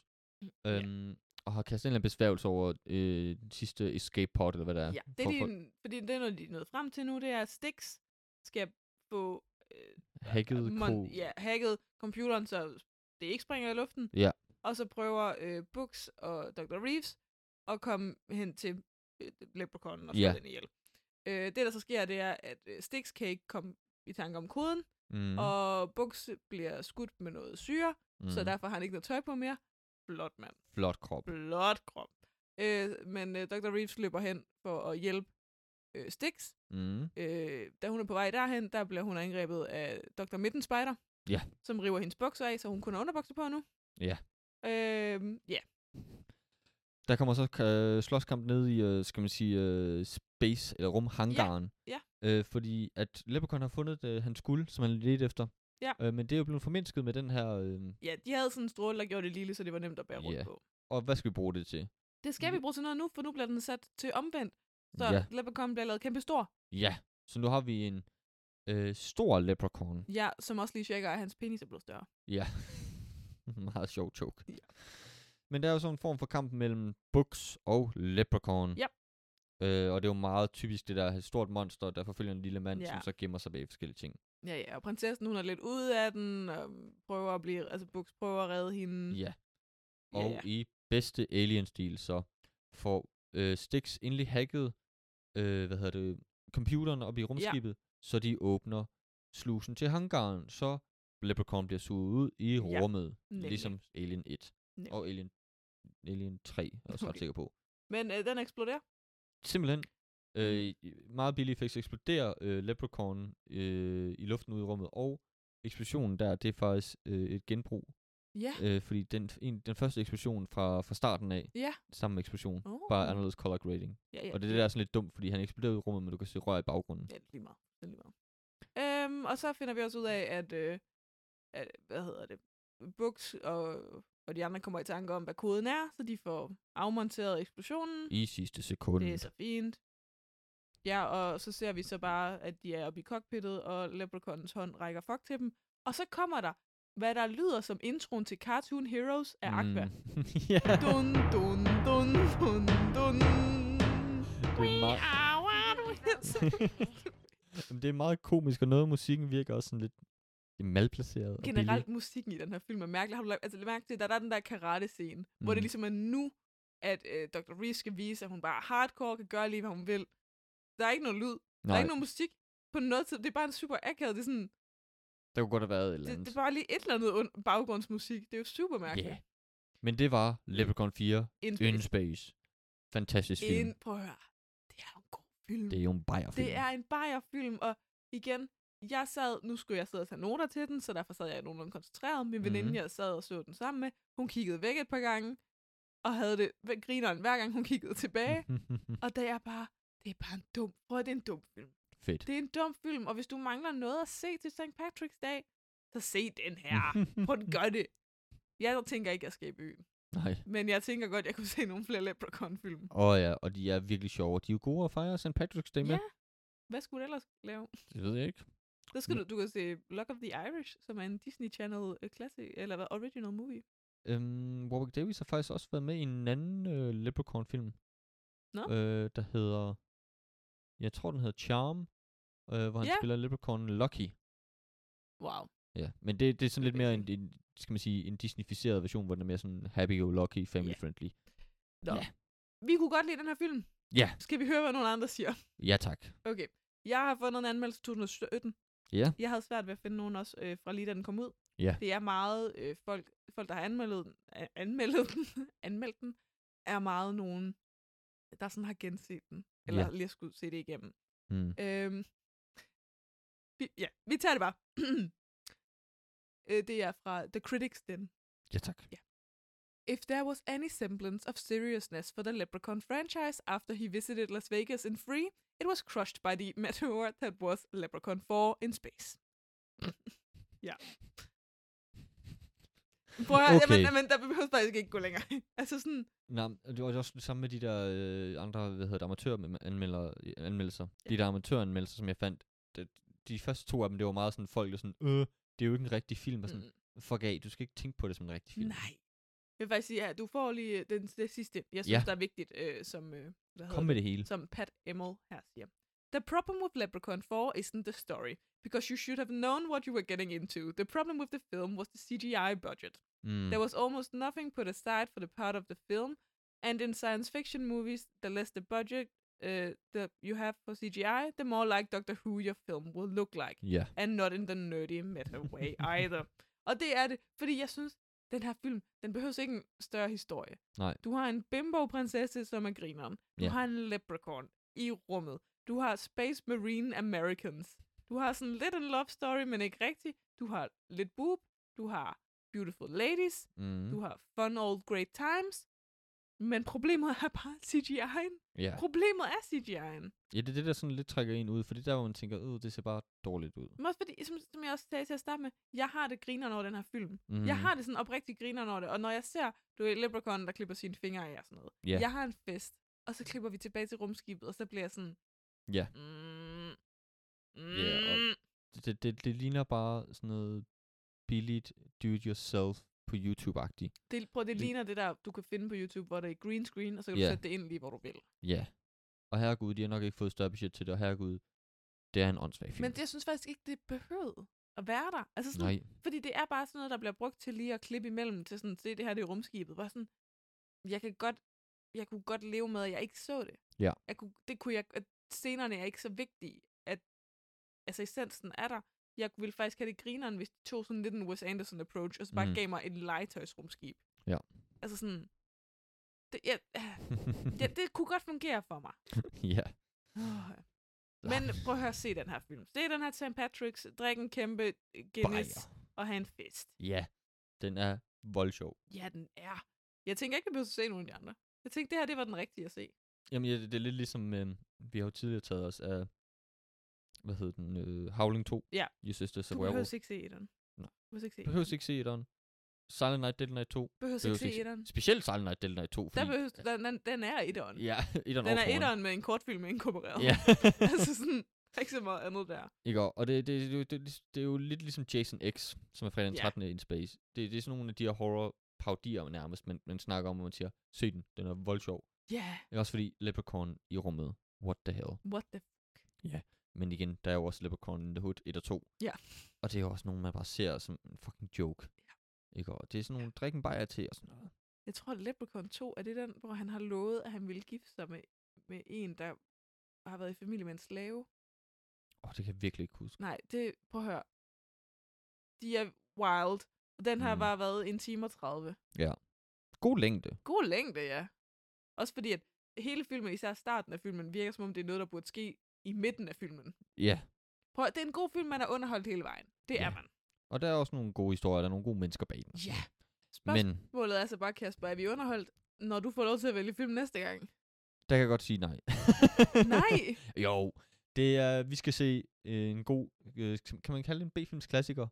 Speaker 2: Ja.
Speaker 4: Øhm, Og har kastet en eller anden besværgelse over øh, den sidste escape pod, eller hvad der er.
Speaker 2: Ja, det er
Speaker 4: for-
Speaker 2: de,
Speaker 4: for-
Speaker 2: fordi det er noget, de er nået frem til nu, det er, at Stix skal få øh,
Speaker 4: Hacket ko.
Speaker 2: mon- ja, hacket computeren, så det ikke springer i luften.
Speaker 4: Ja.
Speaker 2: Og så prøver øh, Books og Dr. Reeves at komme hen til øh, Leprechaun og slå
Speaker 4: Ja.
Speaker 2: yeah. den ihjel. Øh, det, der så sker, det er, at øh, Stix kan ikke komme i tanke om koden,
Speaker 4: Mm,
Speaker 2: mm. og Books bliver skudt med noget syre, mm. så derfor har han ikke noget tøj på mere. Flot mand.
Speaker 4: Flot krop.
Speaker 2: Flot krom. Øh, men øh, Dr. Reeves løber hen for at hjælpe øh, Stix.
Speaker 4: Mm.
Speaker 2: Øh, da hun er på vej derhen, der bliver hun angrebet af Dr. Midden Spider.
Speaker 4: Ja.
Speaker 2: Som river hendes bukser af, så hun kun har underbukser på nu.
Speaker 4: Ja.
Speaker 2: Øh, ja.
Speaker 4: Der kommer så øh, slåskamp ned i, øh, skal man sige, øh, space, eller rumhangaren.
Speaker 2: ja.
Speaker 4: Øh, fordi at Leprechaun har fundet øh, hans guld, som han ledte efter.
Speaker 2: Ja.
Speaker 4: Øh, men det er jo blevet formindsket med den her, øh,
Speaker 2: ja, de havde sådan en stråle, der gjorde det lille, så det var nemt at bære rundt
Speaker 4: Ja.
Speaker 2: på.
Speaker 4: og hvad skal vi bruge det til?
Speaker 2: Det skal vi bruge til noget nu, for nu bliver den sat til omvendt. Så
Speaker 4: Ja.
Speaker 2: ja. Leprechaun bliver lavet kæmpe stor.
Speaker 4: Ja, så nu har vi en øh, stor Leprechaun.
Speaker 2: Ja, som også lige tjekker, at hans penis er blevet større.
Speaker 4: Ja. [LAUGHS] Meget sjov joke.
Speaker 2: Ja.
Speaker 4: Men der er jo sådan en form for kamp mellem Books og Leprechaun.
Speaker 2: Yep.
Speaker 4: Øh, og det er jo meget typisk det der et stort monster, der forfølger en lille mand,
Speaker 2: Ja.
Speaker 4: som så gemmer sig bag forskellige ting.
Speaker 2: Ja, ja, og prinsessen, hun er lidt ude af den, og prøver at blive, altså Bux prøver at redde hende.
Speaker 4: Ja.
Speaker 2: Ja,
Speaker 4: Og
Speaker 2: ja.
Speaker 4: i bedste Alien-stil så får øh, Stix endelig hacket, øh, hvad hedder det, computeren op i rumskibet, så de åbner slusen til hangaren, så Leprechaun bliver suget ud i
Speaker 2: Ja,
Speaker 4: rummet,
Speaker 2: nemlig.
Speaker 4: ligesom Alien 1
Speaker 2: Nemlig.
Speaker 4: og Alien, Alien 3, er jeg også ret
Speaker 2: Okay.
Speaker 4: sikker på.
Speaker 2: Men øh, den eksploderer.
Speaker 4: Simpelthen. Øh,
Speaker 2: Mm.
Speaker 4: i- meget billige effekter eksploderer øh, Leprechaun øh, i luften ude i rummet, og eksplosionen der, det er faktisk øh, et genbrug,
Speaker 2: Ja.
Speaker 4: øh, fordi den, en, den første eksplosion fra, fra starten af,
Speaker 2: Ja.
Speaker 4: samme eksplosion,
Speaker 2: Oh.
Speaker 4: bare anderledes color grading.
Speaker 2: Ja, ja.
Speaker 4: Og det er det, der er sådan lidt dumt, fordi han eksploderer ud i rummet, men du kan se rør i baggrunden.
Speaker 2: Ja, det er lige meget. Det er lige meget. Øhm, og så finder vi også ud af, at, øh, at hvad hedder det, Bux og, og de andre kommer i tanke om, hvad koden er, så de får afmonteret eksplosionen.
Speaker 4: I sidste sekund.
Speaker 2: Det er så fint. Ja, og så ser vi så bare, at de er oppe i cockpittet, og Leprechauns hånd rækker fuck til dem. Og så kommer der, hvad der lyder som introen til Cartoon Heroes af Aqua. Mm.
Speaker 4: [LAUGHS] ja,
Speaker 2: Dun, dun, dun, dun, dun.
Speaker 4: det er, meget,
Speaker 2: Ah, wow, du er så
Speaker 4: [LAUGHS] Jamen, det er meget komisk, og noget af musikken virker også sådan lidt det er malplaceret. og billig.
Speaker 2: generelt musikken i den her film er mærkelig. Har du lagt, altså, lagt mærke til, der, der er den der karate-scene, mm. hvor
Speaker 4: Mm.
Speaker 2: det ligesom er nu, at øh, Dr. Reeves skal vise, at hun bare er hardcore, kan gøre lige, hvad hun vil. Der er ikke noget lyd. Nej. Der er
Speaker 4: Nej,
Speaker 2: ikke noget musik på noget tid. Det er bare en super akavet. Det er, sådan,
Speaker 4: der kunne godt have været et eller
Speaker 2: det,
Speaker 4: andet.
Speaker 2: det er bare lige et eller andet und- baggrundsmusik. Det er jo super mærkeligt.
Speaker 4: Ja. Men det var Leprechaun 4,
Speaker 2: In,
Speaker 4: In Space. Fantastisk film.
Speaker 2: ind, prøv at høre. Det er jo en god film.
Speaker 4: Det er jo en bajerfilm.
Speaker 2: det er en Bayer-film, og igen, jeg sad, nu skulle jeg sidde og tage noter til den, så derfor sad jeg nogenlunde koncentreret. Min veninde,
Speaker 4: Mhm.
Speaker 2: mm. jeg sad og så den sammen med, hun kiggede væk et par gange, og havde det ved grineren hver gang, hun kiggede tilbage.
Speaker 4: [LAUGHS]
Speaker 2: og da jeg bare, det er bare en dum, prøv at det er en dum film.
Speaker 4: [LAUGHS] Fedt.
Speaker 2: Det er en dum film, og hvis du mangler noget at se til St. Patrick's Dag, så se den her. Prøv at gøre det. Jeg tænker ikke, jeg skal i byen.
Speaker 4: [LAUGHS] Nej.
Speaker 2: Men jeg tænker godt, jeg kunne se nogle flere Leprechaun-film.
Speaker 4: Åh oh, ja, og de er virkelig sjove. De er jo gode at fejre St. Patrick's Day med.
Speaker 2: Ja. Hvad skulle du ellers lave?
Speaker 4: Det ved jeg ikke.
Speaker 2: Der skal du, du kan se Luck of the Irish, som er en Disney Channel øh, classic, eller hvad, original movie.
Speaker 4: Øhm, Warwick Davis har faktisk også været med i en anden øh, Leprechaun-film.
Speaker 2: Nå.
Speaker 4: Øh, der hedder... Jeg tror, den hedder Charm. Øh, hvor han
Speaker 2: Ja.
Speaker 4: spiller Leprechaun Lucky.
Speaker 2: Wow.
Speaker 4: Ja, men det, det er sådan lidt
Speaker 2: Okay,
Speaker 4: mere en, en, skal man sige, en Disneyficeret version, hvor den er mere sådan happy-go-lucky, family-friendly.
Speaker 2: Nå.
Speaker 4: Ja.
Speaker 2: Ja. Vi kunne godt lide den her film.
Speaker 4: Ja.
Speaker 2: Skal vi høre, hvad nogle andre siger?
Speaker 4: Ja, tak.
Speaker 2: [LAUGHS] Okay. Jeg har fundet en anmeldelse 2017.
Speaker 4: Ja.
Speaker 2: Jeg havde svært ved at finde nogen også øh, fra lige da den kom ud.
Speaker 4: Ja.
Speaker 2: Det er meget øh, folk, folk, der har anmeldet den, a- anmeldet den, [LAUGHS] anmeldt den, er meget nogen, der sådan har genset den. Eller
Speaker 4: Ja.
Speaker 2: lige har skulle se det igennem.
Speaker 4: Mm.
Speaker 2: Øhm, vi, ja, vi tager det bare. [CLEARS THROAT] Øh, det er fra The Critics Den.
Speaker 4: Ja, tak. [LAUGHS]
Speaker 2: If there was any semblance of seriousness for the Leprechaun franchise after he visited Las Vegas in Free, it was crushed by the [LAUGHS] meteor that was Leprechaun 4 in space. ja. Prøv at høre,
Speaker 4: Okay.
Speaker 2: jamen, jamen, der behøver faktisk ikke gå længere. altså sådan,
Speaker 4: Nej, det var jo også det samme med de der øh, andre, hvad hedder det, amatøranmeldelser. Ja. De der amatøranmeldelser, som jeg fandt, det, de første to af dem, det var meget sådan, folk der sådan, øh, det er jo ikke en rigtig film, og sådan,
Speaker 2: mm,
Speaker 4: fuck af, du skal ikke tænke på det som en rigtig film.
Speaker 2: nej. Jeg vil faktisk sige, at du får lige øh, den, det sidste, jeg synes,
Speaker 4: Ja.
Speaker 2: der er vigtigt, øh, som, øh, hvad
Speaker 4: Kom med det hele.
Speaker 2: som Pat Emmel her siger. The problem with Leprechaun 4 isn't the story, because you should have known what you were getting into. The problem with the film was the CGI budget.
Speaker 4: Mm.
Speaker 2: There was almost nothing put aside for the part of the film, and in science fiction movies, the less the budget uh, that you have for CGI, the more like Doctor Who your film will look like,
Speaker 4: Ja.
Speaker 2: and not in the nerdy meta way either. Og det er det, fordi jeg synes, den her film, den behøver ikke en større historie.
Speaker 4: Nej.
Speaker 2: Du har en bimbo-prinsesse, som er grineren. Du
Speaker 4: Ja.
Speaker 2: har en leprechaun i rummet. Du har Space Marine Americans. Du har sådan lidt en love story, men ikke rigtig. Du har lidt boob. Du har beautiful ladies.
Speaker 4: Mm.
Speaker 2: Du har fun old great times. Men problemet er bare CGI'en.
Speaker 4: Ja.
Speaker 2: Problemet er CGI'en.
Speaker 4: ja, det er det, der sådan lidt trækker en ud, fordi der, hvor man tænker, øh, det ser bare dårligt ud.
Speaker 2: Men også fordi, som, som jeg også sagde til at starte med, jeg har det griner over den her film.
Speaker 4: Mm.
Speaker 2: Jeg har det sådan oprigtigt griner over det, og når jeg ser, du er Leprechaun, der klipper sine fingre af og sådan noget.
Speaker 4: Ja.
Speaker 2: Jeg har en fest, og så klipper vi tilbage til rumskibet, og så bliver jeg sådan...
Speaker 4: Ja.
Speaker 2: Mm, mm,
Speaker 4: Ja, og- Det, det, det, det ligner bare sådan noget billigt do-it-yourself på YouTube-agtigt.
Speaker 2: det, prøv, det
Speaker 4: Lige-
Speaker 2: ligner det der, du kan finde på YouTube, hvor det er green screen, og så kan
Speaker 4: Ja.
Speaker 2: du sætte det ind lige, hvor du vil.
Speaker 4: Ja. Og herregud, de har nok ikke fået større budget til det, og herregud, det er en åndssvag film.
Speaker 2: Men det, jeg synes faktisk ikke, det behøvede at være der. Altså sådan,
Speaker 4: Nej,
Speaker 2: Fordi det er bare sådan noget, der bliver brugt til lige at klippe imellem, til sådan, se det her, det er rumskibet. Bare sådan, jeg kan godt, jeg kunne godt leve med, at jeg ikke så det.
Speaker 4: Ja.
Speaker 2: Jeg kunne, det kunne jeg, at scenerne er ikke så vigtige, at, altså essensen er der. Jeg ville faktisk have det grineren, hvis de tog sådan lidt en Wes Anderson approach, og så bare
Speaker 4: Mm.
Speaker 2: mm. gav mig et legetøjsrumskib.
Speaker 4: Ja.
Speaker 2: Altså sådan, det, jeg, ja, det kunne godt fungere for
Speaker 4: [SIGHS]
Speaker 2: mig.
Speaker 4: [LAUGHS] ja.
Speaker 2: Oh, men
Speaker 4: Ah.
Speaker 2: prøv at høre, se den her film. Se den her St. Patrick's, drik en kæmpe Guinness
Speaker 4: Bajer.
Speaker 2: og have en fest.
Speaker 4: Ja, den er voldsjov.
Speaker 2: Ja, den er. Jeg tænker ikke, jeg behøver at se nogen af de andre. Jeg tænkte, det her, det var den rigtige at se.
Speaker 4: Jamen, ja, det, det er lidt ligesom, øh, vi har jo tidligere taget os af, hvad hedder den, øh, Howling 2,
Speaker 2: Ja.
Speaker 4: Your Sisters
Speaker 2: Du
Speaker 4: of
Speaker 2: behøver
Speaker 4: Werewolf.
Speaker 2: ikke se den.
Speaker 4: Nej.
Speaker 2: Du behøver ikke se
Speaker 4: Behøves ikke se etteren. Silent Night, Deadly Night 2.
Speaker 2: Behøver
Speaker 4: behøves
Speaker 2: ikke se
Speaker 4: ikke
Speaker 2: etteren.
Speaker 4: Specielt Silent Night, Deadly Night 2,
Speaker 2: Der
Speaker 4: fordi...
Speaker 2: behøves, den, den, den er etteren.
Speaker 4: Ja, [LAUGHS] etteren
Speaker 2: Den
Speaker 4: over
Speaker 2: er
Speaker 4: foran.
Speaker 2: etteren med en kortfilm inkorporeret. [LAUGHS]
Speaker 4: Ja. [LAUGHS]
Speaker 2: altså sådan, der er ikke så meget andet der.
Speaker 4: Ikke også? Og det, det, det, det, det, det er jo lidt ligesom Jason X, som er fredag den
Speaker 2: Ja.
Speaker 4: 13. in Space. Det, det er sådan nogle af de her horror parodier nærmest, men man snakker om, hvor man siger, se den, den er voldsjov.
Speaker 2: Ja, yeah.
Speaker 4: Ikke også fordi Leprechaun i rummet, what the hell.
Speaker 2: what the...
Speaker 4: Men igen, der er jo også Leprechaun in the Hood 1 og 2.
Speaker 2: Ja.
Speaker 4: Og det er jo også nogen, man bare ser som en fucking joke. Ja. Ikke og det er sådan nogle drikken bajer til og sådan noget.
Speaker 2: Jeg tror, at Leprechaun 2 er det den, hvor han har lovet, at han ville gifte sig med, med en, der har været i familie med en slave.
Speaker 4: Åh, det kan jeg virkelig ikke huske.
Speaker 2: Nej, det... Prøv at høre. De er wild. Og den har
Speaker 4: Mm.
Speaker 2: bare været en time og 30.
Speaker 4: God længde.
Speaker 2: god længde, ja. Også fordi, at hele filmen, især starten af filmen, virker som om, det er noget, der burde ske i midten af filmen.
Speaker 4: Ja.
Speaker 2: Prøv, at- det er en god film, man er underholdt hele vejen. Det
Speaker 4: Ja.
Speaker 2: er man.
Speaker 4: Og der er også nogle gode historier, der er nogle gode mennesker bag den.
Speaker 2: Ja.
Speaker 4: Men
Speaker 2: Spørgsmålet er så bare, Kasper, er vi underholdt, når du får lov til at vælge film næste gang?
Speaker 4: der kan jeg godt sige [LAUGHS] nej.
Speaker 2: Nej!
Speaker 4: Jo, det er, vi skal se øh, en god, øh, kan man kalde det en B-films klassiker?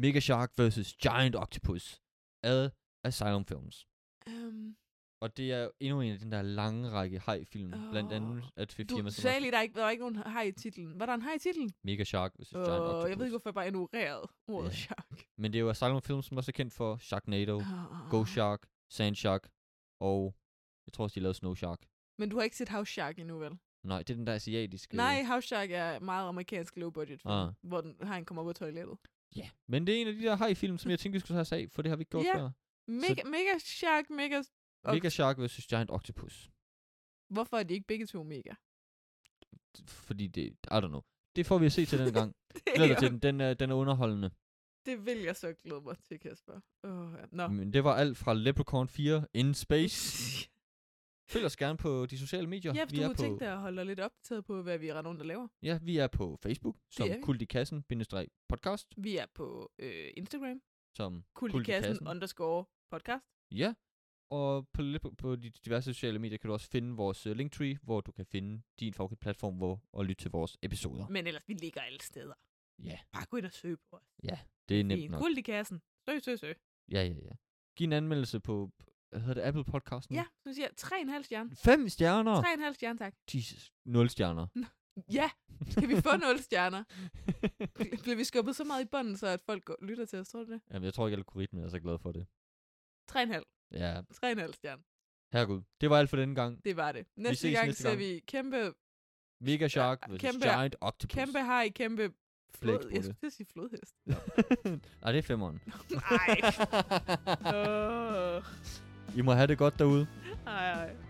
Speaker 4: Mega Shark vs. Giant Octopus af Asylum Films.
Speaker 2: Um,
Speaker 4: Og det er endnu en af den der lange række haj-film, oh. blandt
Speaker 2: Åh.
Speaker 4: andet at Fifth
Speaker 2: du
Speaker 4: Year
Speaker 2: sagde lige, der, er ikke, der var ikke nogen hej i titlen. Var der en hej i titlen?
Speaker 4: Mega Shark vs. Giant
Speaker 2: Åh,
Speaker 4: Octopus.
Speaker 2: jeg ved ikke, hvorfor jeg bare ignorerede ordet
Speaker 4: Ja.
Speaker 2: yeah. shark.
Speaker 4: Men det er jo Asylum Films, som også er kendt for Sharknado, oh.
Speaker 2: Oh.
Speaker 4: Go Shark, Sand Shark og jeg tror også, de lavede Snow Shark.
Speaker 2: Men du har ikke set House Shark endnu, vel?
Speaker 4: Nej, det er den der asiatiske.
Speaker 2: Nej, House Shark er meget amerikansk low budget film,
Speaker 4: Ah.
Speaker 2: ah. hvor den, han kommer på toilettet.
Speaker 4: Ja, yeah. men det er en af de der haj-film, som jeg tænkte, vi skulle have os af, for det har vi ikke gjort
Speaker 2: Ja.
Speaker 4: før.
Speaker 2: Mega, mega Shark, mega Og-
Speaker 4: Mega Shark vs. Giant Octopus.
Speaker 2: Hvorfor er de ikke begge to mega? [LAUGHS]
Speaker 4: fordi det, I don't know. Det får vi at se til den
Speaker 2: [LAUGHS]
Speaker 4: gang. Glæder dig til den. Den er, den er underholdende.
Speaker 2: det vil jeg så glæde mig til, Kasper. Oh, ja. Nå.
Speaker 4: Men det var alt fra Leprechaun 4 in Space Følg os gerne på de sociale medier.
Speaker 2: Ja, for
Speaker 4: [LAUGHS] vi
Speaker 2: du
Speaker 4: er
Speaker 2: kunne
Speaker 4: på,
Speaker 2: tænke dig at holde dig lidt opdateret på, hvad vi render rundt og laver.
Speaker 4: Ja, vi er på Facebook, som
Speaker 2: er vi.
Speaker 4: Kult i Kassen, bindestreg podcast,
Speaker 2: Vi er på øh, Instagram,
Speaker 4: som
Speaker 2: kultikassen underscore podcast.
Speaker 4: Ja, og på, lidt på, på de diverse sociale medier kan du også finde vores øh, linktree, hvor du kan finde din favoritplatform hvor, og lytte til vores episoder.
Speaker 2: Men ellers, vi ligger alle steder.
Speaker 4: Ja,
Speaker 2: Bare gå ind og søg på os.
Speaker 4: det er nemt
Speaker 2: Fint.
Speaker 4: nok. Mm.
Speaker 2: Kultikassen. Søg, søg, søg.
Speaker 4: Ja, ja, ja. Giv en anmeldelse på, hvad hedder det, Apple Podcasten?
Speaker 2: Ja, så siger jeg 3,5 stjerne.
Speaker 4: Fem stjerner!
Speaker 2: 3,5 stjerne, tak.
Speaker 4: Jesus. Nul stjerner.
Speaker 2: Ja, kan vi få 0
Speaker 4: [LAUGHS]
Speaker 2: stjerner? Bliver vi skubbet så meget i bunden, så at folk går, lytter til os, tror du det?
Speaker 4: Jamen, jeg tror ikke, algoritmen er så glad for det.
Speaker 2: 3,5.
Speaker 4: Ja,
Speaker 2: 3,5 stjerne.
Speaker 4: herregud. Det var alt for denne gang.
Speaker 2: Det var det. Næste
Speaker 4: ses
Speaker 2: gang
Speaker 4: næste
Speaker 2: ser
Speaker 4: gang.
Speaker 2: vi kæmpe,
Speaker 4: Mega Shark
Speaker 2: Ja,
Speaker 4: vs.
Speaker 2: kæmpe-
Speaker 4: Giant Octopus.
Speaker 2: kæmpe hej, kæmpe flod.
Speaker 4: Blæksprutte.
Speaker 2: Jeg skulle til at sige flodhest.
Speaker 4: [LAUGHS] Nej, det er femmeren.
Speaker 2: Nej. Åh,
Speaker 4: [LAUGHS] I må have det godt derude.
Speaker 2: Ej, ej.